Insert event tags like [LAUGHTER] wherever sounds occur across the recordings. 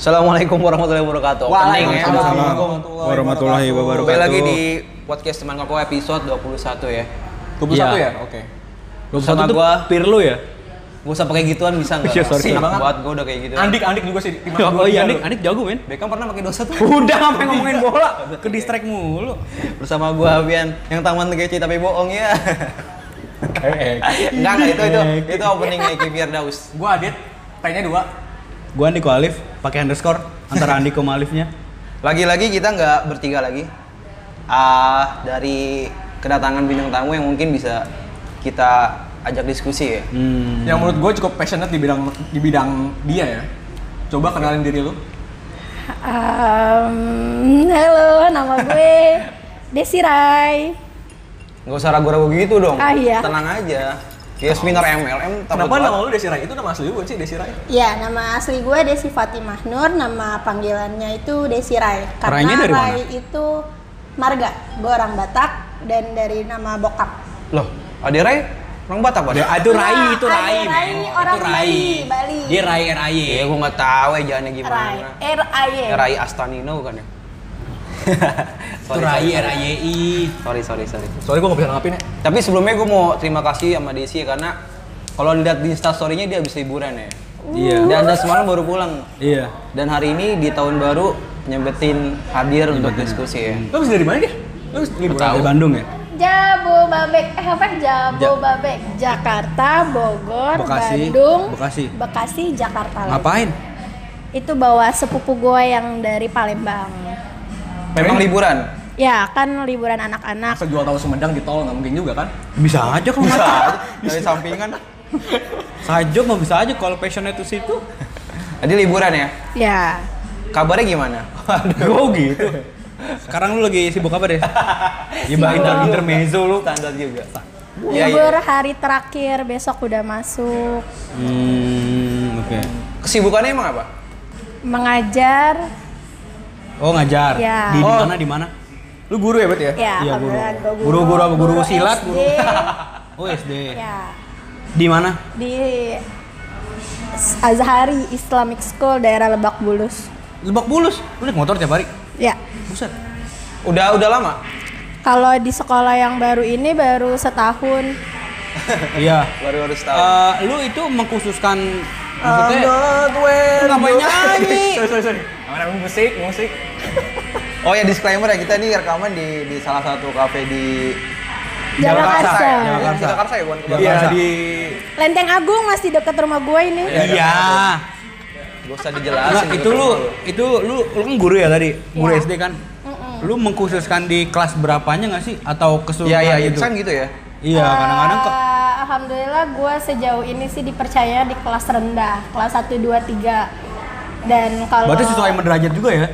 Assalamualaikum warahmatullahi wabarakatuh. Opening ya. Waalaikumsalam. warahmatullahi wabarakatuh. Kembali lagi di podcast teman koko episode 21 ya. 21 Iya. ya? Oke. Sama gua, Pirlo ya? gua usah pakai gituan bisa enggak? Iya, sorry. Enak Banget. banget gua udah kayak gitu. Andik Andik juga [LAUGHS] sih timnas Oh iya, 23 Anik, loh. Anik jago men. Beckham pernah pakai dosa tuh. [LAUGHS] Udah ngapain ngomongin bola? Ke distract mulu. Bersama gua Bian yang taman kece tapi bohong ya. Enggak enggak itu itu itu openingnya Ki biar Daus. Gua Adit, tanya dua. Gua Andiko Alif, pakai underscore antara Andiko sama Alifnya. Lagi-lagi kita nggak bertiga lagi. Ah, dari kedatangan bintang tamu yang mungkin bisa kita ajak diskusi ya. Hmm. Yang menurut gua cukup passionate di bidang di bidang dia ya. Coba kenalin diri lu. Um, halo, nama gue Desirai. Nggak usah ragu-ragu gitu dong. Ah, iya. Tenang aja. Ya seminar MLM takut Kenapa banget. nama lu Desirai? Itu nama asli lu bukan sih Desirai? Ya, nama asli gue Desi Fatimah Nur, nama panggilannya itu Desirai. Rainya Karena dari mana? Rai itu marga, gue orang Batak dan dari nama bokap. Loh, Ade Rai orang Batak Ya, Pak? Iya, Ah, itu Rai, Nah, itu ada Rai, Rai, men. orang itu Rai. Bali, Bali. Dia Rai, Rai. Ya gua nggak tahu ya jalannya gimana. Rai, R E. A Y. Ya, Rai Astanino bukan ya? Itu Rai, RAYI. Sorry, sorry, sorry. Soalnya gua gak bisa ngapain ya. Tapi sebelumnya gua mau terima kasih sama Desi ya, karena kalau lihat di instastory-nya dia habis liburan ya. Iya. Dan dan semalam baru pulang. Iya. Dan hari ini di tahun baru nyempetin hadir untuk diskusi ya. Lu habis dari mana dia? Lu habis liburan. Dari Bandung ya? Jabodebek, eh apa? Jabodebek, Jakarta, Bogor, Bekasi, Bandung, Bekasi. Bekasi, Jakarta. lagi. Ngapain? Itu bawa sepupu gue yang dari Palembang. Memang [LAUGHS] liburan. Ya, kan liburan anak-anak. Asal jual tahu Sumedang di tol nggak mungkin juga kan? Bisa aja kalau bisa. Dari sampingan. Sajuk mah bisa aja kalau passionnya itu situ. Jadi liburan ya. Ya. Kabarnya gimana? [LAUGHS] Aduh, gitu. Sekarang lu lagi sibuk apa deh? Ya Sibuk. inter intermezzo lu. Standar juga. Iya, iya. Ya, Libur hari terakhir, besok udah masuk Hmm, oke. Kesibukannya emang apa? mengajar. Oh, ngajar. Ya. Di di Oh. mana di mana? Lu guru ya bet ya? Ya, Iya, guru. kebetulan gua Guru-guru apa? Guru silat, SD. guru. Oh, SD. ya, Di mana? di Azhari Islamic School daerah Lebak Bulus. Lebak Bulus. Lu naik motor tiap hari. Ya. Buset. Udah udah lama. Kalau di sekolah yang baru ini baru setahun. Iya. Baru harus tahu. Eh, lu itu mengkhususkan maksudnya well. Ngapain [LAUGHS] nyanyi? sorry sorry sorry. Kamera musik musik. Oh ya disclaimer ya kita ini rekaman di di salah satu kafe di Jalakarsa. Jakarta ya. Jalakarsa. Ini Jalakarsa ya bukan Kebangsaan. Iya, Iya di- di Lenteng Agung masih deket rumah gue ini. Iya. Gak usah dijelasin. gitu Nah, itu lu itu lu lu kan guru ya tadi? Guru Iya. SD kan? Lu mengkhususkan di kelas berapanya nggak sih atau keseluruhan Iya iya gitu? itu kan gitu ya. Iya, kadang-kadang kok Eh, Alhamdulillah gue sejauh ini sih dipercaya di kelas rendah, kelas 1, 2, 3 Dan kalau... berarti sesuai sama derajat juga ya?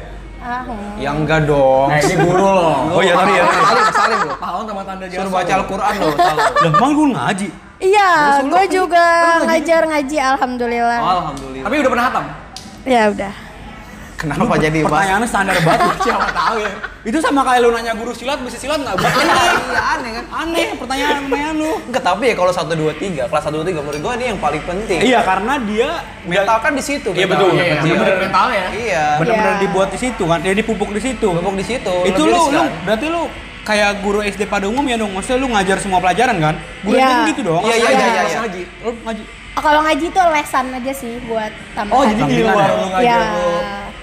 Ah, Yang hmm. Ya, enggak dong. Nah, ini guru loh. Oh iya, sorry ya. Salim salim lu. Pahlawan sama tanda jasa. Suruh baca Al-Qur'an lo. Lah, emang guru ngaji. Iya, gue juga ngajar ngaji Alhamdulillah Oh, Alhamdulillah. Tapi udah pernah hatam. Ya udah Kenapa jadi bahas? Pertanyaannya standar [LAUGHS] banget. Siapa tahu ya. itu sama kayak lu nanya guru silat bisa silat nggak? Buat aneh. Iya aneh kan. aneh pertanyaan-pertanyaan lu. Enggak tapi ya kalau 1 2 3, kelas 1 2 3 menurut gua ini yang paling penting. Iya, karena dia Mental kan di situ. Iya, mental. betul. Iya, Iya. bener-bener ya. mentalnya. Iya. benar-benar Iya. dibuat di situ kan. Ya dipupuk di situ. Bobok di situ. itu lu, lu biriskan. berarti lu kayak guru SD pada umum ya dong maksudnya lu ngajar semua pelajaran kan guru Iya. SD kan gitu dong Iya, iya, iya, iya, Mas iya. Haji. lu ngaji Oh, Kalau ngaji tuh lesan aja sih buat tambahan Oh, jadi di Sampingan luar ya? lu Ya ngajar lu.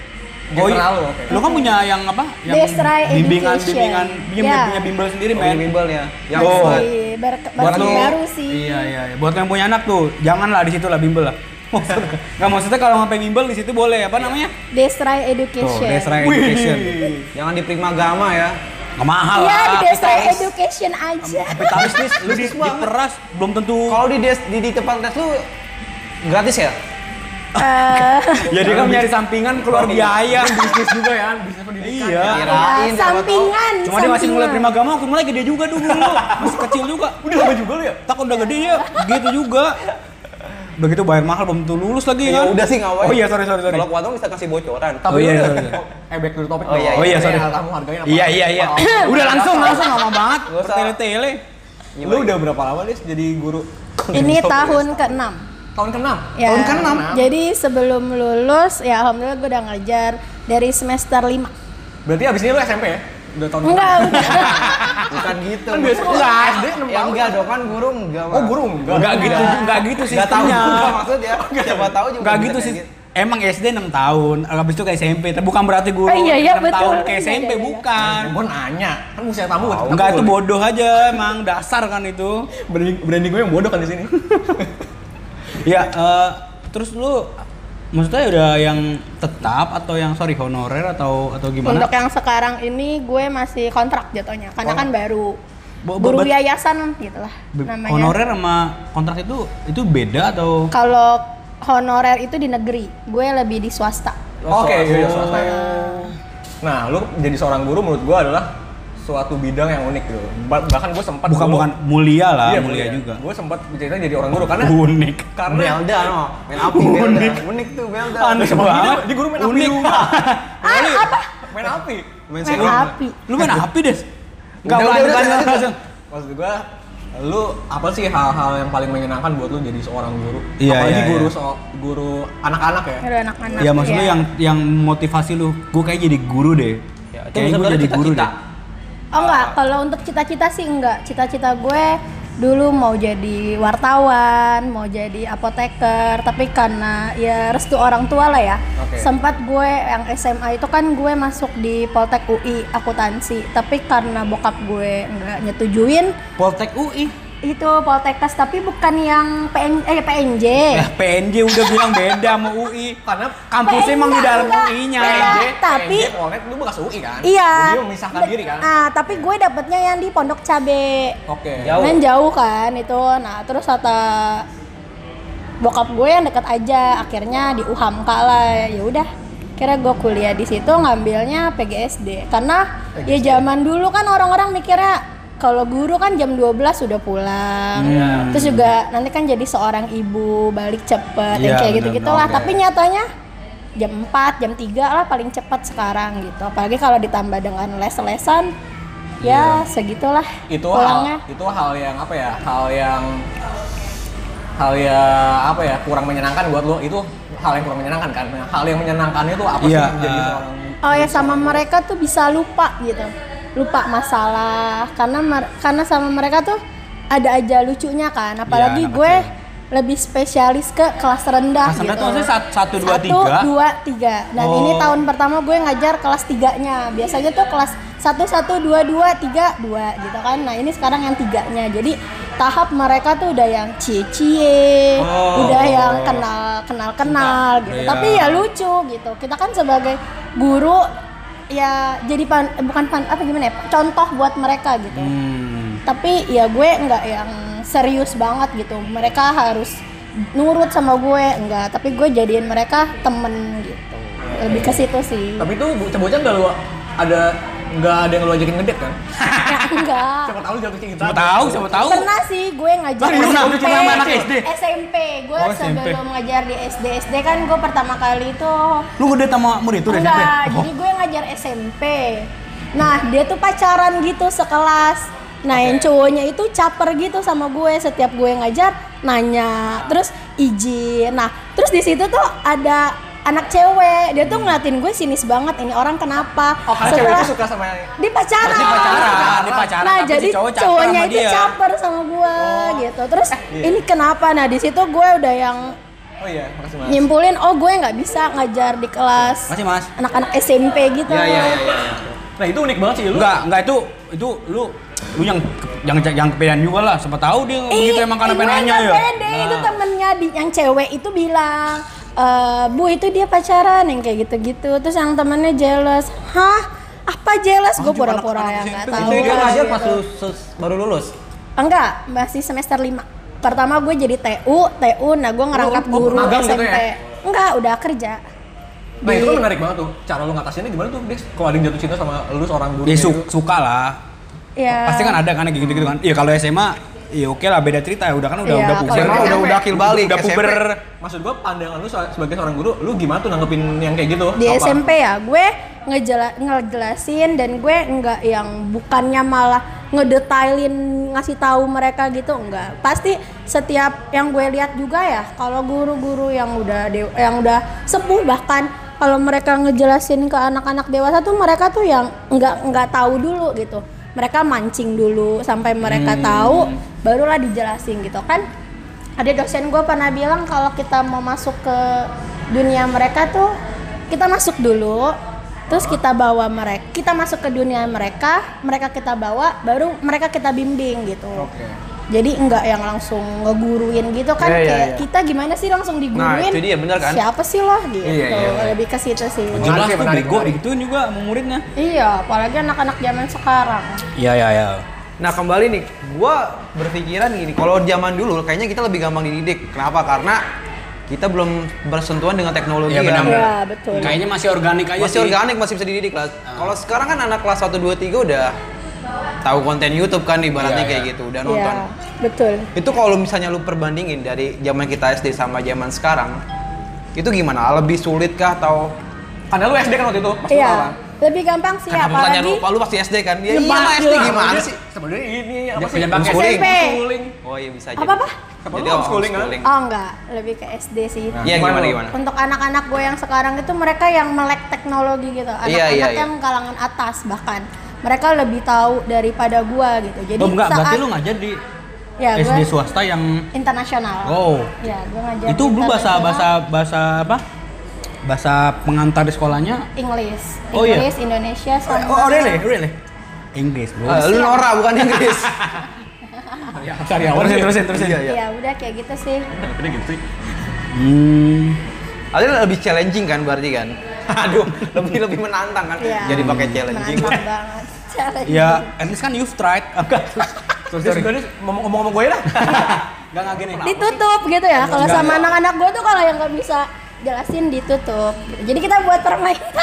oh iya General lu, oke. lu kan punya yang apa yang Desrai bimbingan Education. bimbingan bimbingan Iya. punya bimbel sendiri Oh, men bimbel ya. Yang Oh. buat Masih ber- buat lu baru sih iya iya iya. buat yang punya anak tuh janganlah di situ lah bimbel lah [LAUGHS] Maksudnya- nggak maksudnya kalau sampai bimbel di situ boleh apa namanya Desrai Education tuh Desrai Education Jangan di Prima Gama ya. nggak mahal Iya, lah di Desrai kapitalis. Education aja kapitalis [LAUGHS] nih lu di, Bisnis banget. diperas belum tentu [LAUGHS] Kalau di, des- di di tempat les lu gratis ya? Eh, ya dia kan nyari sampingan keluar biaya Bisnis juga ya, bisnis pendidikan. iya Kirain siapa Sampingan Cuma dia masih mulai sampingan. prima gama, aku mulai gede juga dulu. masih kecil juga. Udah lama juga lu ya? Takut udah gede ya, gitu juga. Udah gitu bayar mahal belum tentu lulus lagi Ya kan? udah sih ngapain. Oh iya, sorry sorry sorry. Kalau kuat bisa kasih bocoran. Tapi Oh lu iya, iya, udah- iya. Eh back to the topic. Oh iya, dong. iya. Ini sorry. hal Tamu harganya apa? Oh. Iya iya iya. [LAUGHS] Udah langsung langsung lama banget. Gak usah. Tele tele. Lu udah berapa lama nih jadi guru? Ini tahun ke-6 tahun ke-6. Ya. Tahun ke-enam. Jadi sebelum lulus ya alhamdulillah gue udah ngajar dari semester 5. Berarti abis ini lu SMP ya? Udah tahun Enggak, ke-enam. udah. Bukan gitu. Kan biasa kalau Enggak, SD enam Ya tahun. enggak dong kan guru enggak. Oh, guru enggak. Enggak gitu, enggak gitu sih. Enggak tahu juga maksudnya. Siapa tahu juga. Oh, Enggak bisa gitu kayak sih. Emang SD 6 tahun, habis itu ke SMP. Tapi Bukan berarti guru Oh, iya, iya, 6 betul. tahun ke Iya, SMP, iya, iya. bukan. Gue nanya, kan usia tamu gua tetep Enggak, itu gua. bodoh aja emang, dasar kan itu. branding, branding gue yang bodoh kan di sini. Ya, eh, terus lu maksudnya udah yang tetap atau yang sorry honorer atau atau [LAUGHS] gimana? Untuk yang sekarang ini gue masih kontrak jatuhnya karena kan baru Oh. Bo- bo- guru bet- yayasan gitu lah Be- namanya. Honorer sama kontrak itu itu beda atau Kalau honorer itu di negeri, gue lebih di swasta. Oh, Oke, swasta. iya, iya, swasta ya. Nah, lu jadi seorang guru menurut gue adalah suatu bidang yang unik gitu. Ba- bahkan gue sempat bukan bukan mulia lah, Iya, mulia, juga. Gue sempat bercerita jadi orang guru karena Unik. gitu. karena Belda no. Main api Belda. Unik tuh Belda. Aneh banget. gitu, di guru main api [LAUGHS] Unik. juga. Ah, apa? main api. Main Main sekolah. api. Lu mana api des? Enggak Udah, udah, udah, lanjut, udah, lanjut, udah. langsung. Maksud gue lu apa sih hal-hal yang paling menyenangkan buat lu jadi seorang guru? Iya, Apalagi iya, guru iya. so- guru anak-anak ya. Aduh, anak-anak. Ya maksud lu Iya. yang yang motivasi lu, gue kayak jadi guru deh. Ya, itu Kayaknya gue sebenarnya jadi guru cita-cita. deh. Oh Ah. enggak, kalau untuk cita-cita sih enggak. Cita-cita gue dulu mau jadi wartawan, mau jadi apoteker, tapi karena ya restu orang tua lah ya. Oke. Sempat gue yang SMA itu kan gue masuk di Poltek UI akuntansi, tapi karena bokap gue enggak nyetujuin Poltek UI. itu Poltekkes tapi bukan yang PN, eh [LAUGHS] PNJ. Eh, PNJ udah bilang beda sama Iya. UI. Karena Kampusnya emang di dalam Enggak, UI-nya. enggak. PNJ, tapi PNJ, Polnet lu bekas UI kan? iya. Jadi memisahkan diri kan? Ah, tapi gue dapetnya yang di Pondok Cabe. Oke. Jauh. Main jauh kan itu. Nah, terus kata bokap gue yang deket aja akhirnya di UHAMKA lah ya udah kira gue kuliah di situ ngambilnya PGSD karena ya zaman dulu kan orang-orang mikirnya kalau guru kan jam 12 sudah pulang Iya. terus juga nanti kan jadi seorang ibu balik cepet Iya, yang kayak benar, gitu gitulah benar. tapi nyatanya jam 4, jam 3 lah paling cepat sekarang gitu apalagi kalau ditambah dengan les-lesan ya segitulah Itu pulangnya hal itu hal yang apa ya? Hal yang hal yang apa ya? Kurang menyenangkan buat lu. Itu hal yang kurang menyenangkan kan? Nah, Hal yang menyenangkannya itu apa sih Iya, menjadi eh, seorang Oh ya sama mereka tuh bisa lupa gitu, lupa masalah karena mer- karena sama mereka tuh ada aja lucunya kan. Apalagi Iya, anak gue lebih spesialis ke kelas rendah. Kelas rendah gitu. tuh maksudnya sat- satu, dua, Satu, tiga? dua, tiga. Dan Oh. ini tahun pertama gue ngajar kelas tiganya. Biasanya tuh kelas satu satu dua dua tiga dua gitu kan. Nah ini sekarang yang tiganya. Jadi tahap mereka tuh udah yang cie-cie, Oh. udah yang kenal kenal kenal gitu. Iya. Tapi ya lucu gitu. Kita kan sebagai guru ya jadi pan- eh, bukan pan- apa gimana ya contoh buat mereka gitu. Hmm. Tapi ya gue nggak yang serius banget gitu. Mereka harus nurut sama gue enggak. Tapi gue jadiin mereka temen gitu. Lebih ke situ sih. Tapi itu bocah-bocah enggak lu ada enggak ada yang lu ajakin ngedek kan? [LAUGHS] Ya, enggak. Siapa tahu lu jatuh gitu. cinta. Siapa tahu, siapa tahu. Pernah sih gue ngajar Pernah, udah SMP. cuma sama anak SD? SMP. Gue Oh, SMP. sebelum ngajar di SD. SD kan gue pertama kali itu Lu gede sama murid itu SMP? enggak. Oh. Jadi gue ngajar SMP. Nah, dia tuh pacaran gitu sekelas. Nah, yang cowoknya itu caper gitu sama gue setiap gue ngajar nanya, terus izin. Nah, terus di situ tuh ada anak cewek. Dia tuh ngeliatin gue sinis banget ini orang kenapa. Oh, karena cewek itu suka sama di pacaran. Dia pacaran, dia pacaran. Nah, tapi jadi si cowok caper cowoknya sama itu dia. Oh. Eh, iya. caper sama gua gitu. Terus ini kenapa? Nah, di situ gue udah yang Oh iya, makasih Mas. nyimpulin oh gue nggak bisa ngajar di kelas Masih, Mas. anak-anak SMP gitu. Ya, Iya iya iya iya. Nah, itu unik banget sih lu. Enggak, enggak itu itu lu lu yang yang yang kepedean juga lah. Siapa tahu dia Ih, begitu Gitu emang karena gue penanya nggak ya. Eh, pede. itu temennya di- yang cewek itu bilang "Eh, bu itu dia pacaran yang kayak gitu-gitu terus yang temennya jealous hah apa jealous gue Anjir, pura-pura anak-anak yang nggak SMP. tahu Itu dia lah ngajar gitu. pas lu sus- baru lulus. enggak masih semester 5 pertama gue jadi TU TU nah gue ngerangkap Oh, oh, guru magang gitu SMP ya? enggak udah kerja Nah, itu kan Di- menarik banget tuh. Cara lu ngatasinnya gimana tuh, Dex? Kalau ada yang jatuh cinta sama lu seorang guru Ya gitu. su- suka lah. ya Pasti kan ada kan yang gitu-gitu kan. Ya kalau SMA ya oke lah beda cerita ya udah kan udah Iya, udah puber. kalau udah SMP. udah akil balik. Udah puber. Maksud gua pandangan lu so- sebagai seorang guru, lu gimana tuh nanggepin yang kayak gitu? di Apa? SMP ya gue ngejela ngejelasin dan gue nggak yang bukannya malah ngedetailin ngasih tahu mereka gitu enggak pasti setiap yang gue lihat juga ya kalau guru-guru yang udah dew- yang udah sepuh bahkan kalau mereka ngejelasin ke anak-anak dewasa tuh mereka tuh yang enggak enggak tahu dulu gitu mereka mancing dulu sampai mereka Hmm. tahu barulah dijelasin gitu kan ada dosen gue pernah bilang kalau kita mau masuk ke dunia mereka tuh kita masuk dulu terus kita bawa mereka kita masuk ke dunia mereka mereka kita bawa baru mereka kita bimbing gitu jadi enggak yang langsung ngeguruin gitu kan Iya, iya, kayak iya. kita gimana sih langsung diguruin Nah, itu dia, bener kan? siapa sih lo gitu Iya, iya, iya. lebih ke situ sih Jelas tuh menarik, bego menarik. digituin juga sama muridnya. iya apalagi anak-anak zaman sekarang Iya iya iya. Nah kembali nih, gua berpikiran gini, kalau zaman dulu kayaknya kita lebih gampang dididik. Kenapa? Karena kita belum bersentuhan dengan teknologi. Iya ya. benar. Iya, betul. Kayaknya masih organik aja Masih sih. Ah. organik, masih bisa dididik lah. Kalau sekarang kan anak kelas 1, 2, 3 udah tahu konten YouTube kan ibaratnya Iya, kayak iya. gitu, udah iya nonton. betul Itu kalau misalnya lu perbandingin dari zaman kita SD sama zaman sekarang, itu gimana? Lebih sulit kah atau Karena lu SD kan waktu itu. pas lu tahu kan? iya lebih gampang sih Kenapa pertanyaan apalagi lu? Pak, Lu pasti SD kan? Ya Ya, iya lah, SD gimana sih? Sebenarnya ini apa Ya, sih? ya, pakai Homeschooling. SMP. Homeschooling. Oh iya bisa Apa, apa? Apa Jadi lu homeschooling, ah? kan? homeschooling. Oh enggak, lebih ke SD sih. Nah. Iya gimana gimana? Untuk anak-anak gue yang sekarang itu mereka yang melek teknologi gitu. Anak-anak Iya, iya, iya. yang kalangan atas bahkan. Mereka lebih tahu daripada gue gitu. Jadi Oh, enggak, berarti saat- lu ngajar di ya, SD gue swasta yang internasional. Wow. Ya, gue ngajar Oh. Itu lu bahasa internasional, bahasa bahasa apa? Bahasa pengantar di sekolahnya? English. Oh, iya. English, Indonesia sama Really? Oh, Inggris, Bro. Eh, lu Nora bukan Inggris. [LAUGHS] Ya, sariawan sih. terusin, terusin. Iya, iya. Iya, udah kayak gitu sih. Gede gitu sih. Hmm. Artinya lebih challenging kan berarti kan? [LAUGHS] Aduh, lebih lebih menantang kan? Iya. Jadi pakai challenging. Menantang banget. Challenging. Ya, at least kan you've tried. [LAUGHS] Enggak. Terus tadi ngomong-ngomong gue lah. Enggak enggak gini. ditutup gitu ya kalau sama anak-anak gue tuh kalau yang nggak bisa jelasin ditutup jadi kita buat permainan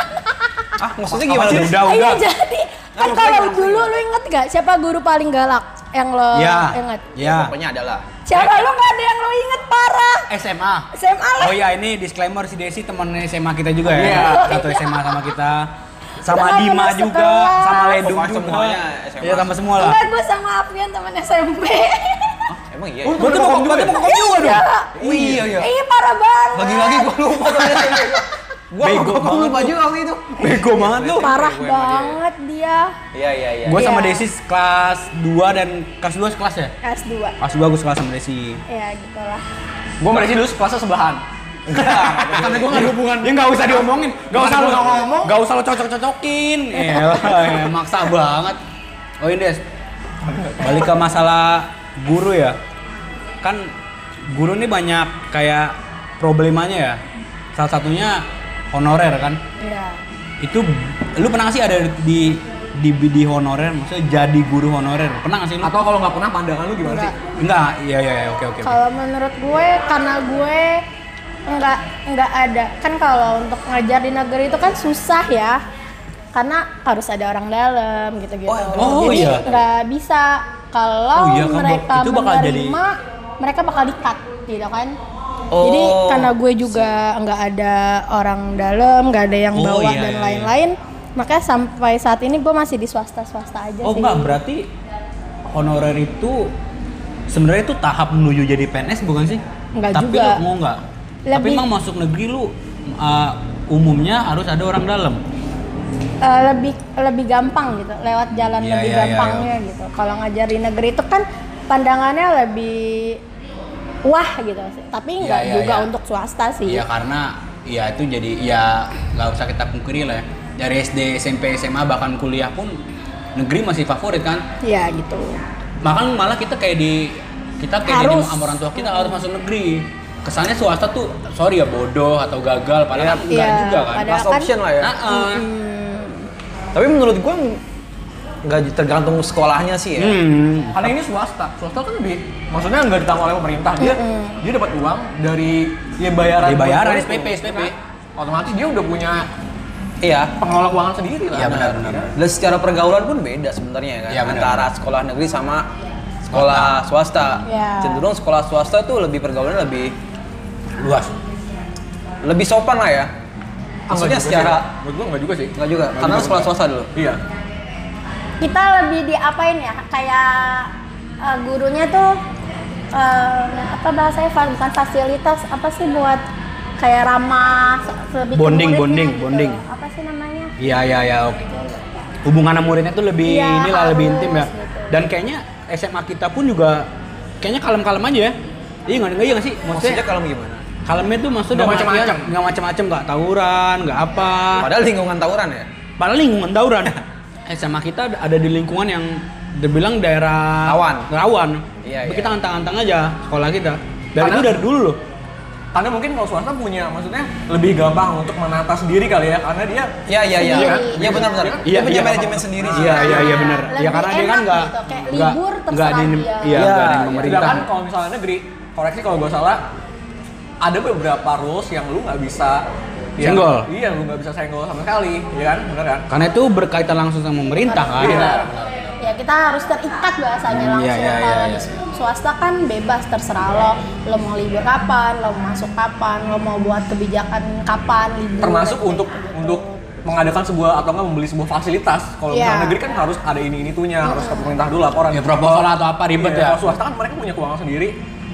Ah, maksudnya gimana? sih? Udah, iya udah. Ya, Nah, jadi kan kalau dulu lu inget gak siapa guru paling galak yang lo Ya. inget Ya. Pokoknya adalah siapa lu gak ada yang lo inget parah SMA. SMA lah Oh iya ini disclaimer si Desi teman SMA kita juga ya. Iya. Satu SMA sama kita. Sama Teman Dima sekelas. juga, sama Lendung Pokoknya juga. semuanya SMA. Iya sama semua lah. enggak gue sama Apian teman SMP emang iya. Gua tuh mau gua tuh mau kopi juga dong. Oh iya iya. iya parah banget Lagi-lagi gua [LAUGHS] lupa ternyata. Gua Bego gua lupa juga waktu itu. Bego banget lu. parah Gue sama dia. banget dia Iya iya iya. Gua sama Iya. Desi kelas 2 dan kelas 2 sekelas ya? kelas 2 Kelas 2 gua sekelas sama Desi. ya gitulah Gue merasa dulu kelasnya sebelahan. Karena gua enggak hubungan. Ya enggak usah diomongin. Enggak usah lu ngomong. Enggak usah lu [LAUGHS] cocok-cocokin. Eh, maksa banget. Oh ini Des. Balik ke masalah guru ya. Kan guru ini banyak kayak problemanya ya. Salah satunya honorer kan. ya Itu lu pernah nggak sih ada di di di honorer maksudnya jadi guru honorer pernah nggak sih lu? Atau kalau nggak pernah pandangan lu gimana sih? Enggak. enggak iya iya iya, oke oke oke. Kalau menurut gue karena gue nggak nggak ada kan kalau untuk ngajar di negeri itu kan susah ya karena harus ada orang dalam gitu-gitu. Oh, oh Jadi iya. nggak bisa kalau Oh iya, kan, Bang. mereka Itu bakal menerima jadi- mereka bakal dikat gitu kan. Oh. Jadi karena gue juga nggak ada orang dalam, nggak ada yang Oh, bawah iya, iya, dan iya. lain-lain, makanya sampai saat ini gue masih di swasta-swasta aja Oh sih. enggak, berarti honorer itu sebenarnya itu tahap menuju jadi PNS bukan sih? Enggak Tapi juga. Lu, mau enggak? Tapi Lebih- emang masuk negeri lu uh, umumnya harus ada orang dalam. Eh, lebih lebih gampang gitu lewat jalan Iya, lebih iya, iya, gampangnya gitu kalau ngajar di negeri itu kan pandangannya lebih wah gitu tapi Iya, nggak iya, juga iya. untuk swasta sih Iya karena ya itu jadi ya nggak usah kita pungkiri lah ya. Dari SD, SMP, SMA bahkan kuliah pun negeri masih favorit kan. ya gitu Makan malah kita kayak di kita kayak Harus. di sama orang tua kita harus masuk negeri. Kesannya swasta tuh sorry ya bodoh atau gagal padahal kan enggak Iya, juga kan. padahal- Last kan- Hmm. option lah ya. Nah, eh. Tapi menurut gua nggak tergantung sekolahnya sih ya. Hmm. Karena ini swasta, swasta kan lebih maksudnya nggak ditanggung oleh pemerintah dia dia dapat uang dari ya bayaran Dari bayaran, bulan SPP, itu, SPP. kan? Otomatis dia udah punya Iya. pengelola keuangan sendiri lah. Iya, benar, benar. Dan secara pergaulan pun beda sebenarnya kan Iya, benar. antara sekolah negeri sama sekolah swasta. Iya. Cenderung sekolah swasta tuh lebih pergaulannya lebih Luas. lebih sopan lah ya. Ah, nggak Maksudnya juga secara sih. menurut gua nggak juga sih. nggak juga, karena juga, Iya. sekolah nggak. swasta dulu. Iya. kita lebih diapain ya kayak eh, gurunya tuh eh, apa bahasanya fa- bukan fasilitas apa sih buat kayak ramah se- lebih ke Bonding, muridnya bonding, gitu. bonding. apa sih namanya Iya iya iya oke. Hubungan sama muridnya tuh lebih Iya, inilah lebih harus, intim ya. gitu. Dan kayaknya SMA kita pun juga kayaknya kalem-kalem aja ya. Iya nggak nggak iya nggak sih? Maksudnya Maksudnya kalau gimana? kalemnya tuh maksudnya Nggak dalam artian macem-macem. nggak macam-macam nggak tawuran nggak apa. Padahal lingkungan tawuran ya. Padahal lingkungan tawuran. SMA kita ada- ada di lingkungan yang dibilang daerah Rawan. rawan. Iya, iya. Kita antang-antang aja sekolah kita. Dan Karena- itu dari dulu loh. Karena mungkin kalau swasta punya, maksudnya lebih gampang untuk menata sendiri kali ya, karena dia Iya iya iya. Sendiri. Iya benar-benar. Iya, Dia punya iya. manajemen sendiri sih. Iya iya iya benar. Lebih Ya karena dia kan enak nggak gitu, kayak nggak- libur nggak terserah di dia. iya nggak ada yang pemerintah. Sedangkan kalau misalnya negeri, koreksi kalau gue salah, ada beberapa rules yang lu nggak bisa yang- Senggol. Iya, lu nggak bisa senggol sama sekali, ya kan? Bener kan? Karena itu berkaitan langsung sama pemerintah kan. Iya. ya kita harus terikat bahasanya Hmm, langsung iya, iya, kalau iya, di swasta kan bebas terserah lo lo mau libur kapan lo mau masuk kapan lo mau buat kebijakan kapan libur Termasuk kayak untuk gitu. untuk mengadakan sebuah atau nggak membeli sebuah fasilitas. Kalau Iya. misalnya negeri kan harus ada ini ini tunya, harus ke pemerintah dulu laporan. Ya, proposal atau apa, ribet Iya, ya. Kalau swasta kan mereka punya keuangan sendiri,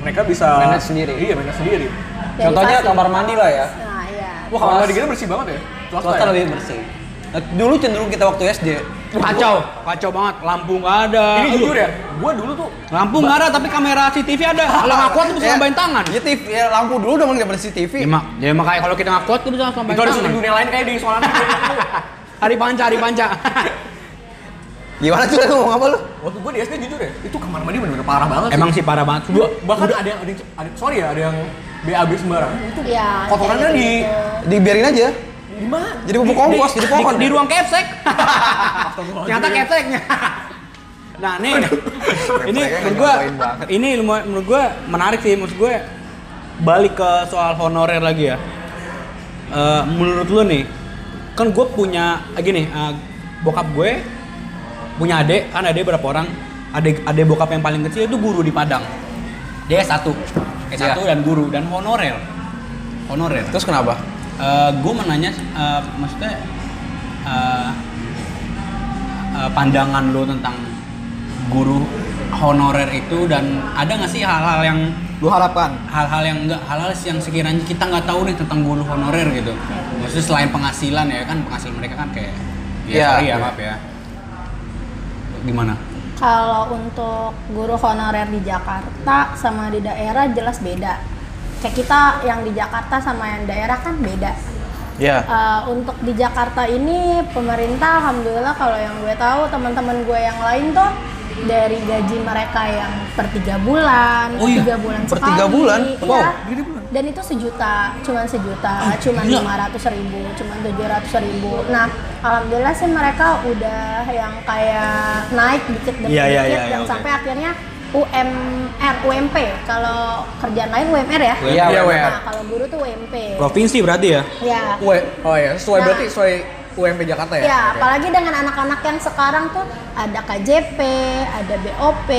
mereka bisa Manage sendiri. Iya, manage sendiri. Jadi Contohnya pasti- kamar mandi lah ya. nah iya Wah, kalau negeri kita bersih banget ya. Swasta ya? lebih bersih. Nah, dulu cenderung kita waktu SD Kacau, kacau banget. Lampu nggak ada. Ini Aduh, jujur ya, gue dulu tuh Lampu nggak ada, tapi kamera CCTV ada. Kalau nggak kuat, lu bisa Ya, nambahin tangan. Ya, TV, ya lampu dulu dong nggak bersih TV. Ya, mak, ya makanya kalau kita nggak kuat, kita bisa langsung itu nambahin ada syuting tangan. dunia lain kayak di soal [LAUGHS] Hari panca, hari panca. Gimana tuh lu ngomong apa lu? Waktu gue di SD jujur ya, itu kamar mandi bener-bener parah banget. Emang sih parah banget. Gua- bahkan ada yang, ada yang- ada- sorry ya, ada yang BAB sembarang. iya Kotorannya kayak di- gitu. Dibiarin aja. Di mana? Jadi bubuk kompos, jadi pohon. ya? di, di ruang kepsek. Ternyata kepseknya. [LAUGHS] Nah nih, ini Kepseknya menurut gue, ngapain banget. ini luma- menurut gue menarik sih, menurut gue balik ke soal honorer lagi ya. Eh, menurut lu nih, kan gue punya, eh, gini, eh, bokap gue punya adik, kan adik berapa orang? Adik, adik bokap yang paling kecil itu guru di Padang. Dia S1, S1 dan guru, dan honorer. Honorer. Iya. Terus kenapa? gue mau nanya, eh, maksudnya eh, eh, pandangan lo tentang guru honorer itu dan ada nggak sih hal-hal yang Lu harapkan hal-hal yang enggak hal-hal yang sekiranya kita nggak tahu nih tentang guru honorer gitu maksudnya selain penghasilan ya kan penghasilan mereka kan kayak ya, Iya. sorry ya maaf ya gimana kalau untuk guru honorer di Jakarta sama di daerah jelas beda kayak kita yang di Jakarta sama yang daerah kan beda Iya. Uh, untuk di Jakarta ini pemerintah alhamdulillah kalau yang gue tahu teman-teman gue yang lain tuh dari gaji mereka yang per tiga bulan, Oh iya, tiga bulan per sekali, tiga bulan? iya. Wow, Dan itu sejuta, cuman sejuta, cuman Ah, gila. lima ratus ribu, cuman tujuh ratus ribu. Nah, alhamdulillah sih mereka udah yang kayak naik dikit demi Iya, iya, dikit iya, iya, dan oke. sampai akhirnya UMR, UMP kalau kerjaan lain UMR ya. Iya, Iya, WR. Nah, kalau guru tuh UMP. provinsi berarti ya Ya. oh ya, sesuai Nah. berarti sesuai UMP Jakarta ya? Ya, Oke. apalagi dengan anak-anak yang sekarang tuh ada KJP, ada BOP.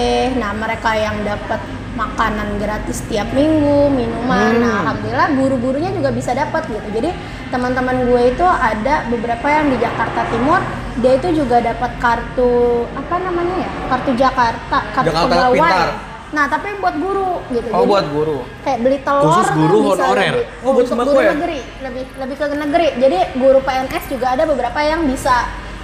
Nah, mereka yang dapat makanan gratis tiap minggu, minuman. Nah, Hmm. alhamdulillah guru-gurunya juga bisa dapat gitu. Jadi, teman-teman gue itu ada beberapa yang di Jakarta Timur, dia itu juga dapat kartu apa namanya ya? Kartu Jakarta, kartu Jakarta pegawai. Pintar. Nah, tapi buat guru gitu. Oh Jadi, buat guru. kayak beli telur Khusus tuh guru bisa honorer? lebih- Oh, buat untuk sembako guru ya? negeri lebih lebih ke negeri jadi guru PNS juga ada beberapa yang bisa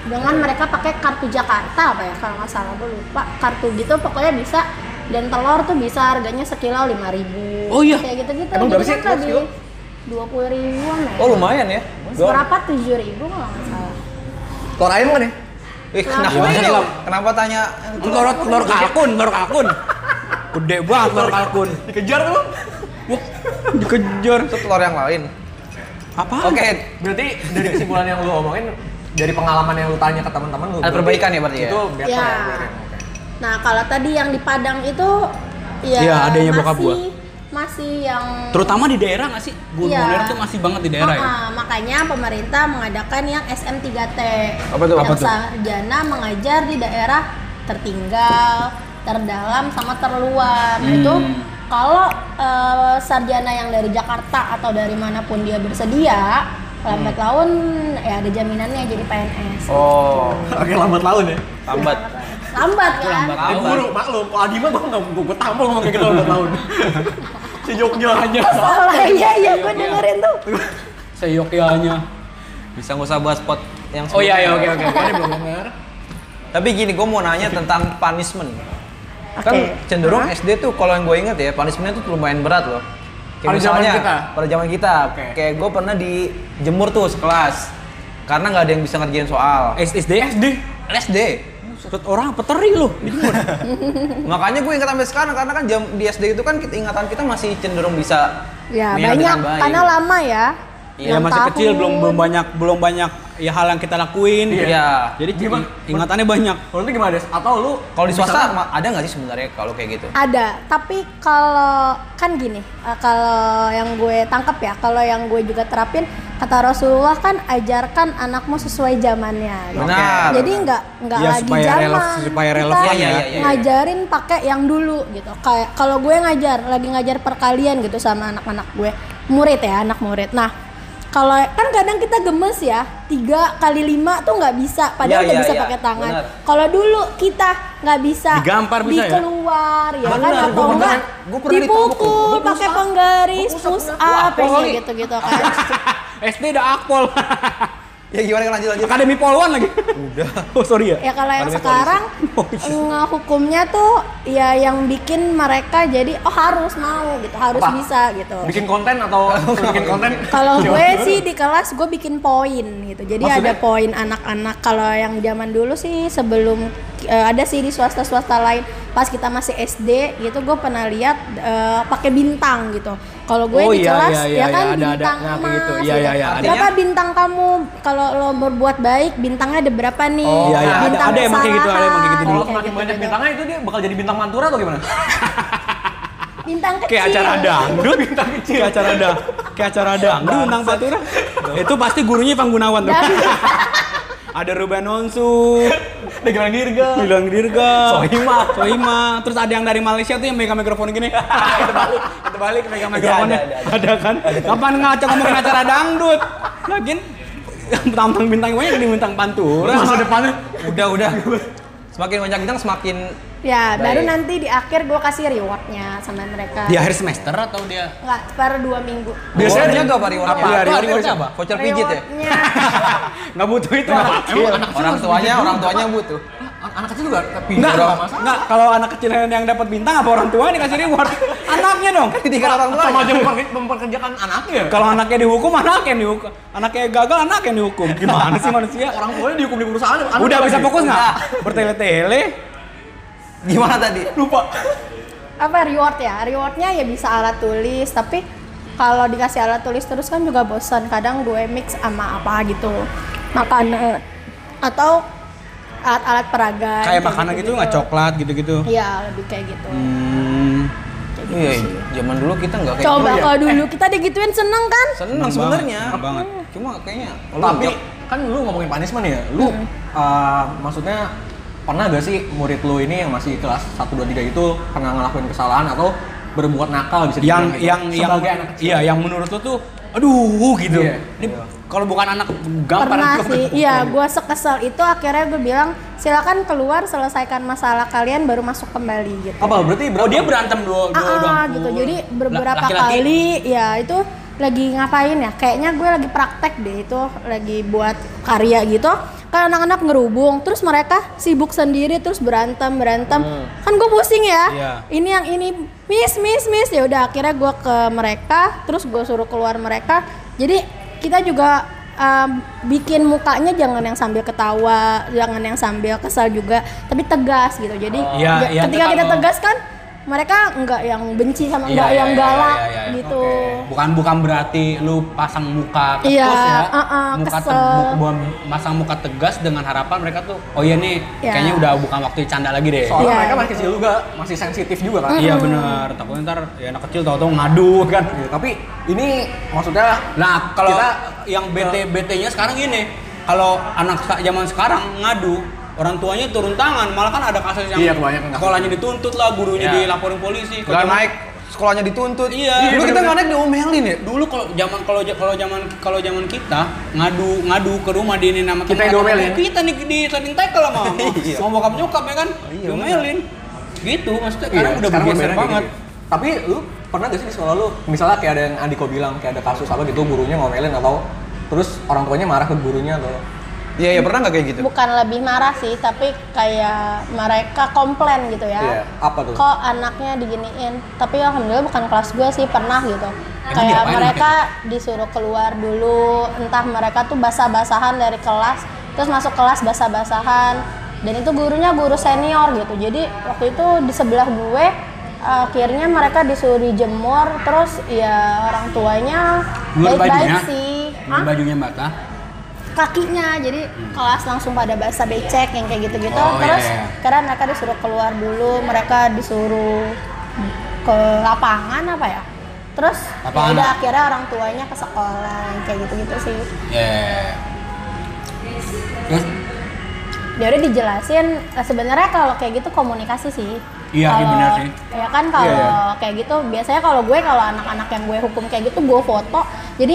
dengan mereka pakai kartu Jakarta apa ya kalau nggak salah gue lupa kartu gitu pokoknya bisa dan telur tuh bisa harganya sekilo lima ribu Oh iya. kayak gitu gitu Emang berapa sih telur sekilo? dua puluh ribuan ya Oh lumayan ya. berapa tujuh ribu kalau nggak salah Telur ayam kan ya? Ih, kenapa Kenapa? ini? Kenapa tanya? telur telur kalkun telur kalkun gede banget telur kalkun Dikejar tuh. wah dikejar Itu telur yang lain. apa Oke, Berarti dari kesimpulan yang lu omongin, dari pengalaman yang lu tanya ke teman-teman lu. Ada perbaikan ya berarti ya? Itu better ya. Ya. [LAUGHS] berarti. Oke. nah kalau tadi yang di Padang itu ya Iya, adanya bokap masih- gua. masih yang terutama di daerah nggak sih guru Iya. honorer tuh masih banget di daerah ya Ah, makanya pemerintah mengadakan yang SM3T. Apa tuh? Yang Apa tuh? sarjana mengajar di daerah tertinggal, terdalam sama Hmm. terluar. Nah, Itu kalau eh, sarjana yang dari Jakarta atau dari manapun dia bersedia, Hmm. lambat laun ya ada jaminannya jadi PNS. Oh, Oke, lambat laun ya. lambat. Lambat kan? Lambat. Ya, gue maklum, kalau Adi mah gue nggak gue gue tampol ngomong kayak gitu udah [LAUGHS] tahun. Si Jogja aja. Salah iya iya gue dengerin tuh. Seyokianya. Bisa nggak usah bahas spot yang Oh iya iya oke sebelumnya. oke. [LAUGHS] Gue belum denger. Tapi gini, gue mau nanya tentang punishment. Kan Oke. cenderung Hah? SD tuh kalau yang gue inget ya, punishmentnya tuh lumayan berat loh. Pada zaman kita? Pada zaman kita. Oke. Kayak gue pernah dijemur tuh sekelas. Karena nggak ada yang bisa ngerjain soal. SD? SD. SD. Orang peteri lu. Makanya gue ingat sampai sekarang karena kan jam di SD itu kan kita, ingatan kita masih cenderung bisa Ya mengingat banyak dengan baik. karena lama ya. Iya Enam masih tahun. kecil belum belum banyak belum banyak ya hal yang kita lakuin. Iya. Jadi Gimana? Ingatannya [LAUGHS] banyak. Menurut lu gimana Des? Atau lu Kalau di swasta misalkan- ma- ada nggak sih sebenarnya kalau kayak gitu? Ada, tapi kalau kan gini, eh, kalau yang gue tangkap ya, kalau yang gue juga terapin kata Rasulullah kan ajarkan anakmu sesuai zamannya. gitu. Benar. Jadi nggak nggak Ya, lagi supaya zaman relevan- supaya Kita relevan ya. Iya, iya, iya, iya. ngajarin pakai yang dulu gitu. Kayak kalau gue ngajar lagi ngajar perkalian gitu sama anak-anak gue murid ya anak murid. Nah kalau kan kadang kita gemes ya tiga kali lima tuh nggak bisa, padahal Iya, udah iya, bisa iya. pakai tangan. Benar. Kalau dulu kita nggak bisa Digampar bisa ya? dikeluar ya kan Benar, atau gua enggak pernah- gua pernah ditampuk loh. dipukul Gua pakai push up. penggaris Gua push up, push bener. Wah, up poli. kayak gitu-gitu kan. SD udah akpol. Ya gimana kan lanjut lanjut? [LAUGHS] Akademi Polwan lagi. Udah. Oh sorry ya. Ya kalau yang Pandemi [LAUGHS] sekarang eh, hukumnya tuh ya yang bikin mereka jadi oh harus mau gitu, harus Apa? bisa gitu. bikin konten atau [LAUGHS] bikin konten? Kalau gue sih di kelas gue bikin poin gitu. Jadi ada Maksudnya? poin anak-anak. Kalau yang zaman dulu sih sebelum eh, ada sih di swasta-swasta lain pas kita masih SD gitu gue pernah lihat eh, pakai bintang gitu. Kalau gue Oh, di iya, kelas iya, ya iya, kan iya, ada, ada. bintang Nah, kayak emas. gitu. Iya, iya, iya, ada. Berapa bintang kamu kalau lo berbuat baik bintangnya ada berapa nih? Oh, iya, iya, ada- Bintang ada emang kayak gitu, ada emang kayak gitu dulu. Kalau kesalahan, semakin kayak banyak gitu-gitu. bintangnya itu dia bakal jadi bintang mantura atau gimana? [LAUGHS] bintang kecil. Kayak acara dangdut. Bintang kecil. Kayak acara dang. Kayak acara dangdut tentang Fatura. Itu pasti gurunya Pang Gunawan tuh. Ada Ruben Onsu, Dengan dirga. Bilang Dirga, Sohima. Sohima, terus ada yang dari Malaysia tuh yang megang mikrofon gini. [LAUGHS] Terbalik, terbalik megang mikrofonnya. ada, ada, Ada kan? Kapan ngaco ngomongin acara dangdut? [LAUGHS] Lagian tampang bintang banyak di bintang pantura. Masa depannya Udah udah. Semakin banyak bintang semakin [LAUGHS] Ya, Baik. baru nanti di akhir gue kasih rewardnya sama mereka. Di akhir semester atau dia? Nggak, per dua minggu. biasanya Iya, Rewardnya jaga Pak rewardnya. apa? Rewardnya Rewardnya apa? apa? Voucher pijit ya. Rewardnya, Nggak butuh itu. anak kecil. Iya. Orang tuanya orang tuanya yang butuh. anak kecil juga tapi Enggak, enggak. Kalau anak kecil yang yang dapat bintang apa orang tuanya dikasih reward? Anaknya dong. Iya. Ketika kan orang tua Iya, sama aja memper- memperkerjakan anaknya. Kalau anaknya dihukum, anaknya yang dihukum. Anaknya gagal, anaknya yang dihukum. Gimana sih manusia? Orang tuanya dihukum di perusahaan. anak Udah bisa lagi. fokus nggak? Bertele-tele. gimana tadi? Lupa. apa reward ya? Rewardnya ya bisa alat tulis, tapi kalau dikasih alat tulis terus kan juga bosan. Kadang gue mix sama apa gitu. Makanan atau alat-alat peraga. Kayak makanan gitu nggak coklat gitu-gitu. Iya, lebih kayak gitu. Hmm. Iya, zaman dulu kita nggak kayak Coba gitu ya. kalau dulu kita digituin seneng kan? Seneng sebenarnya. Seneng banget. Cuma kayaknya Hmm, Tapi kan lu ngomongin punishment ya. Lu Hmm. eh, maksudnya pernah gak sih murid lu ini yang masih kelas 1 2 3 itu pernah ngelakuin kesalahan atau berbuat nakal bisa Yang dibilang gitu? yang yang sebagai anak kecil. iya, yang menurut lu tuh aduh gitu. Iya. Ini kalau bukan anak gampar [LAUGHS] pernah gitu. sih iya gue sekesel itu akhirnya gue bilang silakan keluar selesaikan masalah kalian baru masuk kembali gitu Apa berarti Oh, berapa? dia berantem dua dua ah doang. ah, gitu jadi beberapa Laki-laki. kali ya itu lagi ngapain ya kayaknya gue lagi praktek deh itu lagi buat karya gitu kan anak-anak ngerubung terus mereka sibuk sendiri terus berantem berantem kan gue pusing ya Hmm. Iya. ini yang ini miss miss miss ya udah akhirnya gue ke mereka terus gue suruh keluar mereka jadi kita juga um, bikin mukanya jangan yang sambil ketawa jangan yang sambil kesal juga tapi tegas gitu jadi Iya, ja- iya, ketika tetap kita mau. tegas kan mereka nggak yang benci sama Iya, nggak iya, yang iya, galak iya, iya, iya. gitu Bukan bukan berarti lu pasang muka ketus Iya, ya. uh-uh, muka kesel. teg- bukan pasang muka tegas dengan harapan mereka tuh oh iya nih Iya. kayaknya udah bukan waktu canda lagi deh. Soalnya Iya. mereka masih kecil juga, masih sensitif juga kan. Iya benar, takutnya ntar ya anak kecil tahu-tahu ngadu [LAUGHS] kan. Iya, tapi ini maksudnya Nah, kalau Kita- Nah. yang BT BT-nya sekarang gini, kalau anak sa- zaman sekarang ngadu, orang tuanya turun tangan, malah kan ada kasus yang Iya, kebanyakan kasus. sekolahnya dituntut lah, gurunya Iya. dilaporin polisi. Gak Kalau zaman- naik sekolahnya dituntut. Iya, Dulu kita bener-bener. nggak naik diomelin ya. dulu kalau zaman kalau ja- kalau zaman kalau zaman kita ngadu ngadu ke rumah di nama Kita teman yang atau- diomelin. kita nih di sliding tackle [LAUGHS] sama sama- Iya. sama bokap nyokap ya Oh, kan iya, diomelin gitu maksudnya sekarang udah bergeser modernnya banget Iya, kayak gitu. Tapi lu pernah gak sih di sekolah lu, misalnya kayak ada yang Andiko bilang, kayak ada kasus apa gitu, gurunya ngomelin atau terus orang tuanya marah ke gurunya atau Iya, iya pernah nggak kayak gitu? bukan lebih marah sih tapi kayak mereka komplain gitu Iya, ya apa tuh? kok anaknya diginiin tapi alhamdulillah bukan kelas gue sih pernah gitu Emang kayak diapain mereka disuruh keluar dulu entah mereka tuh basah-basahan dari kelas terus masuk kelas basah-basahan dan itu gurunya guru senior gitu jadi waktu itu di sebelah gue akhirnya mereka disuruh dijemur terus ya orang tuanya Belum bajunya? baik-baik sih Ini Hmm. Hah? bajunya basah kakinya jadi kelas langsung pada bahasa becek yang kayak gitu-gitu Hmm. Oh, iya, terus iya. karena mereka disuruh keluar dulu mereka disuruh ke lapangan apa ya terus ya Lapangan. udah akhirnya orang tuanya ke sekolah yang kayak gitu-gitu sih ya terus dia Ya udah dijelasin eh, sebenarnya kalau kayak gitu komunikasi sih Iya, iya Kalau- benar sih. Iya, ya kan kalau kayak gitu biasanya kalau gue kalau anak-anak yang gue hukum kayak gitu gue foto jadi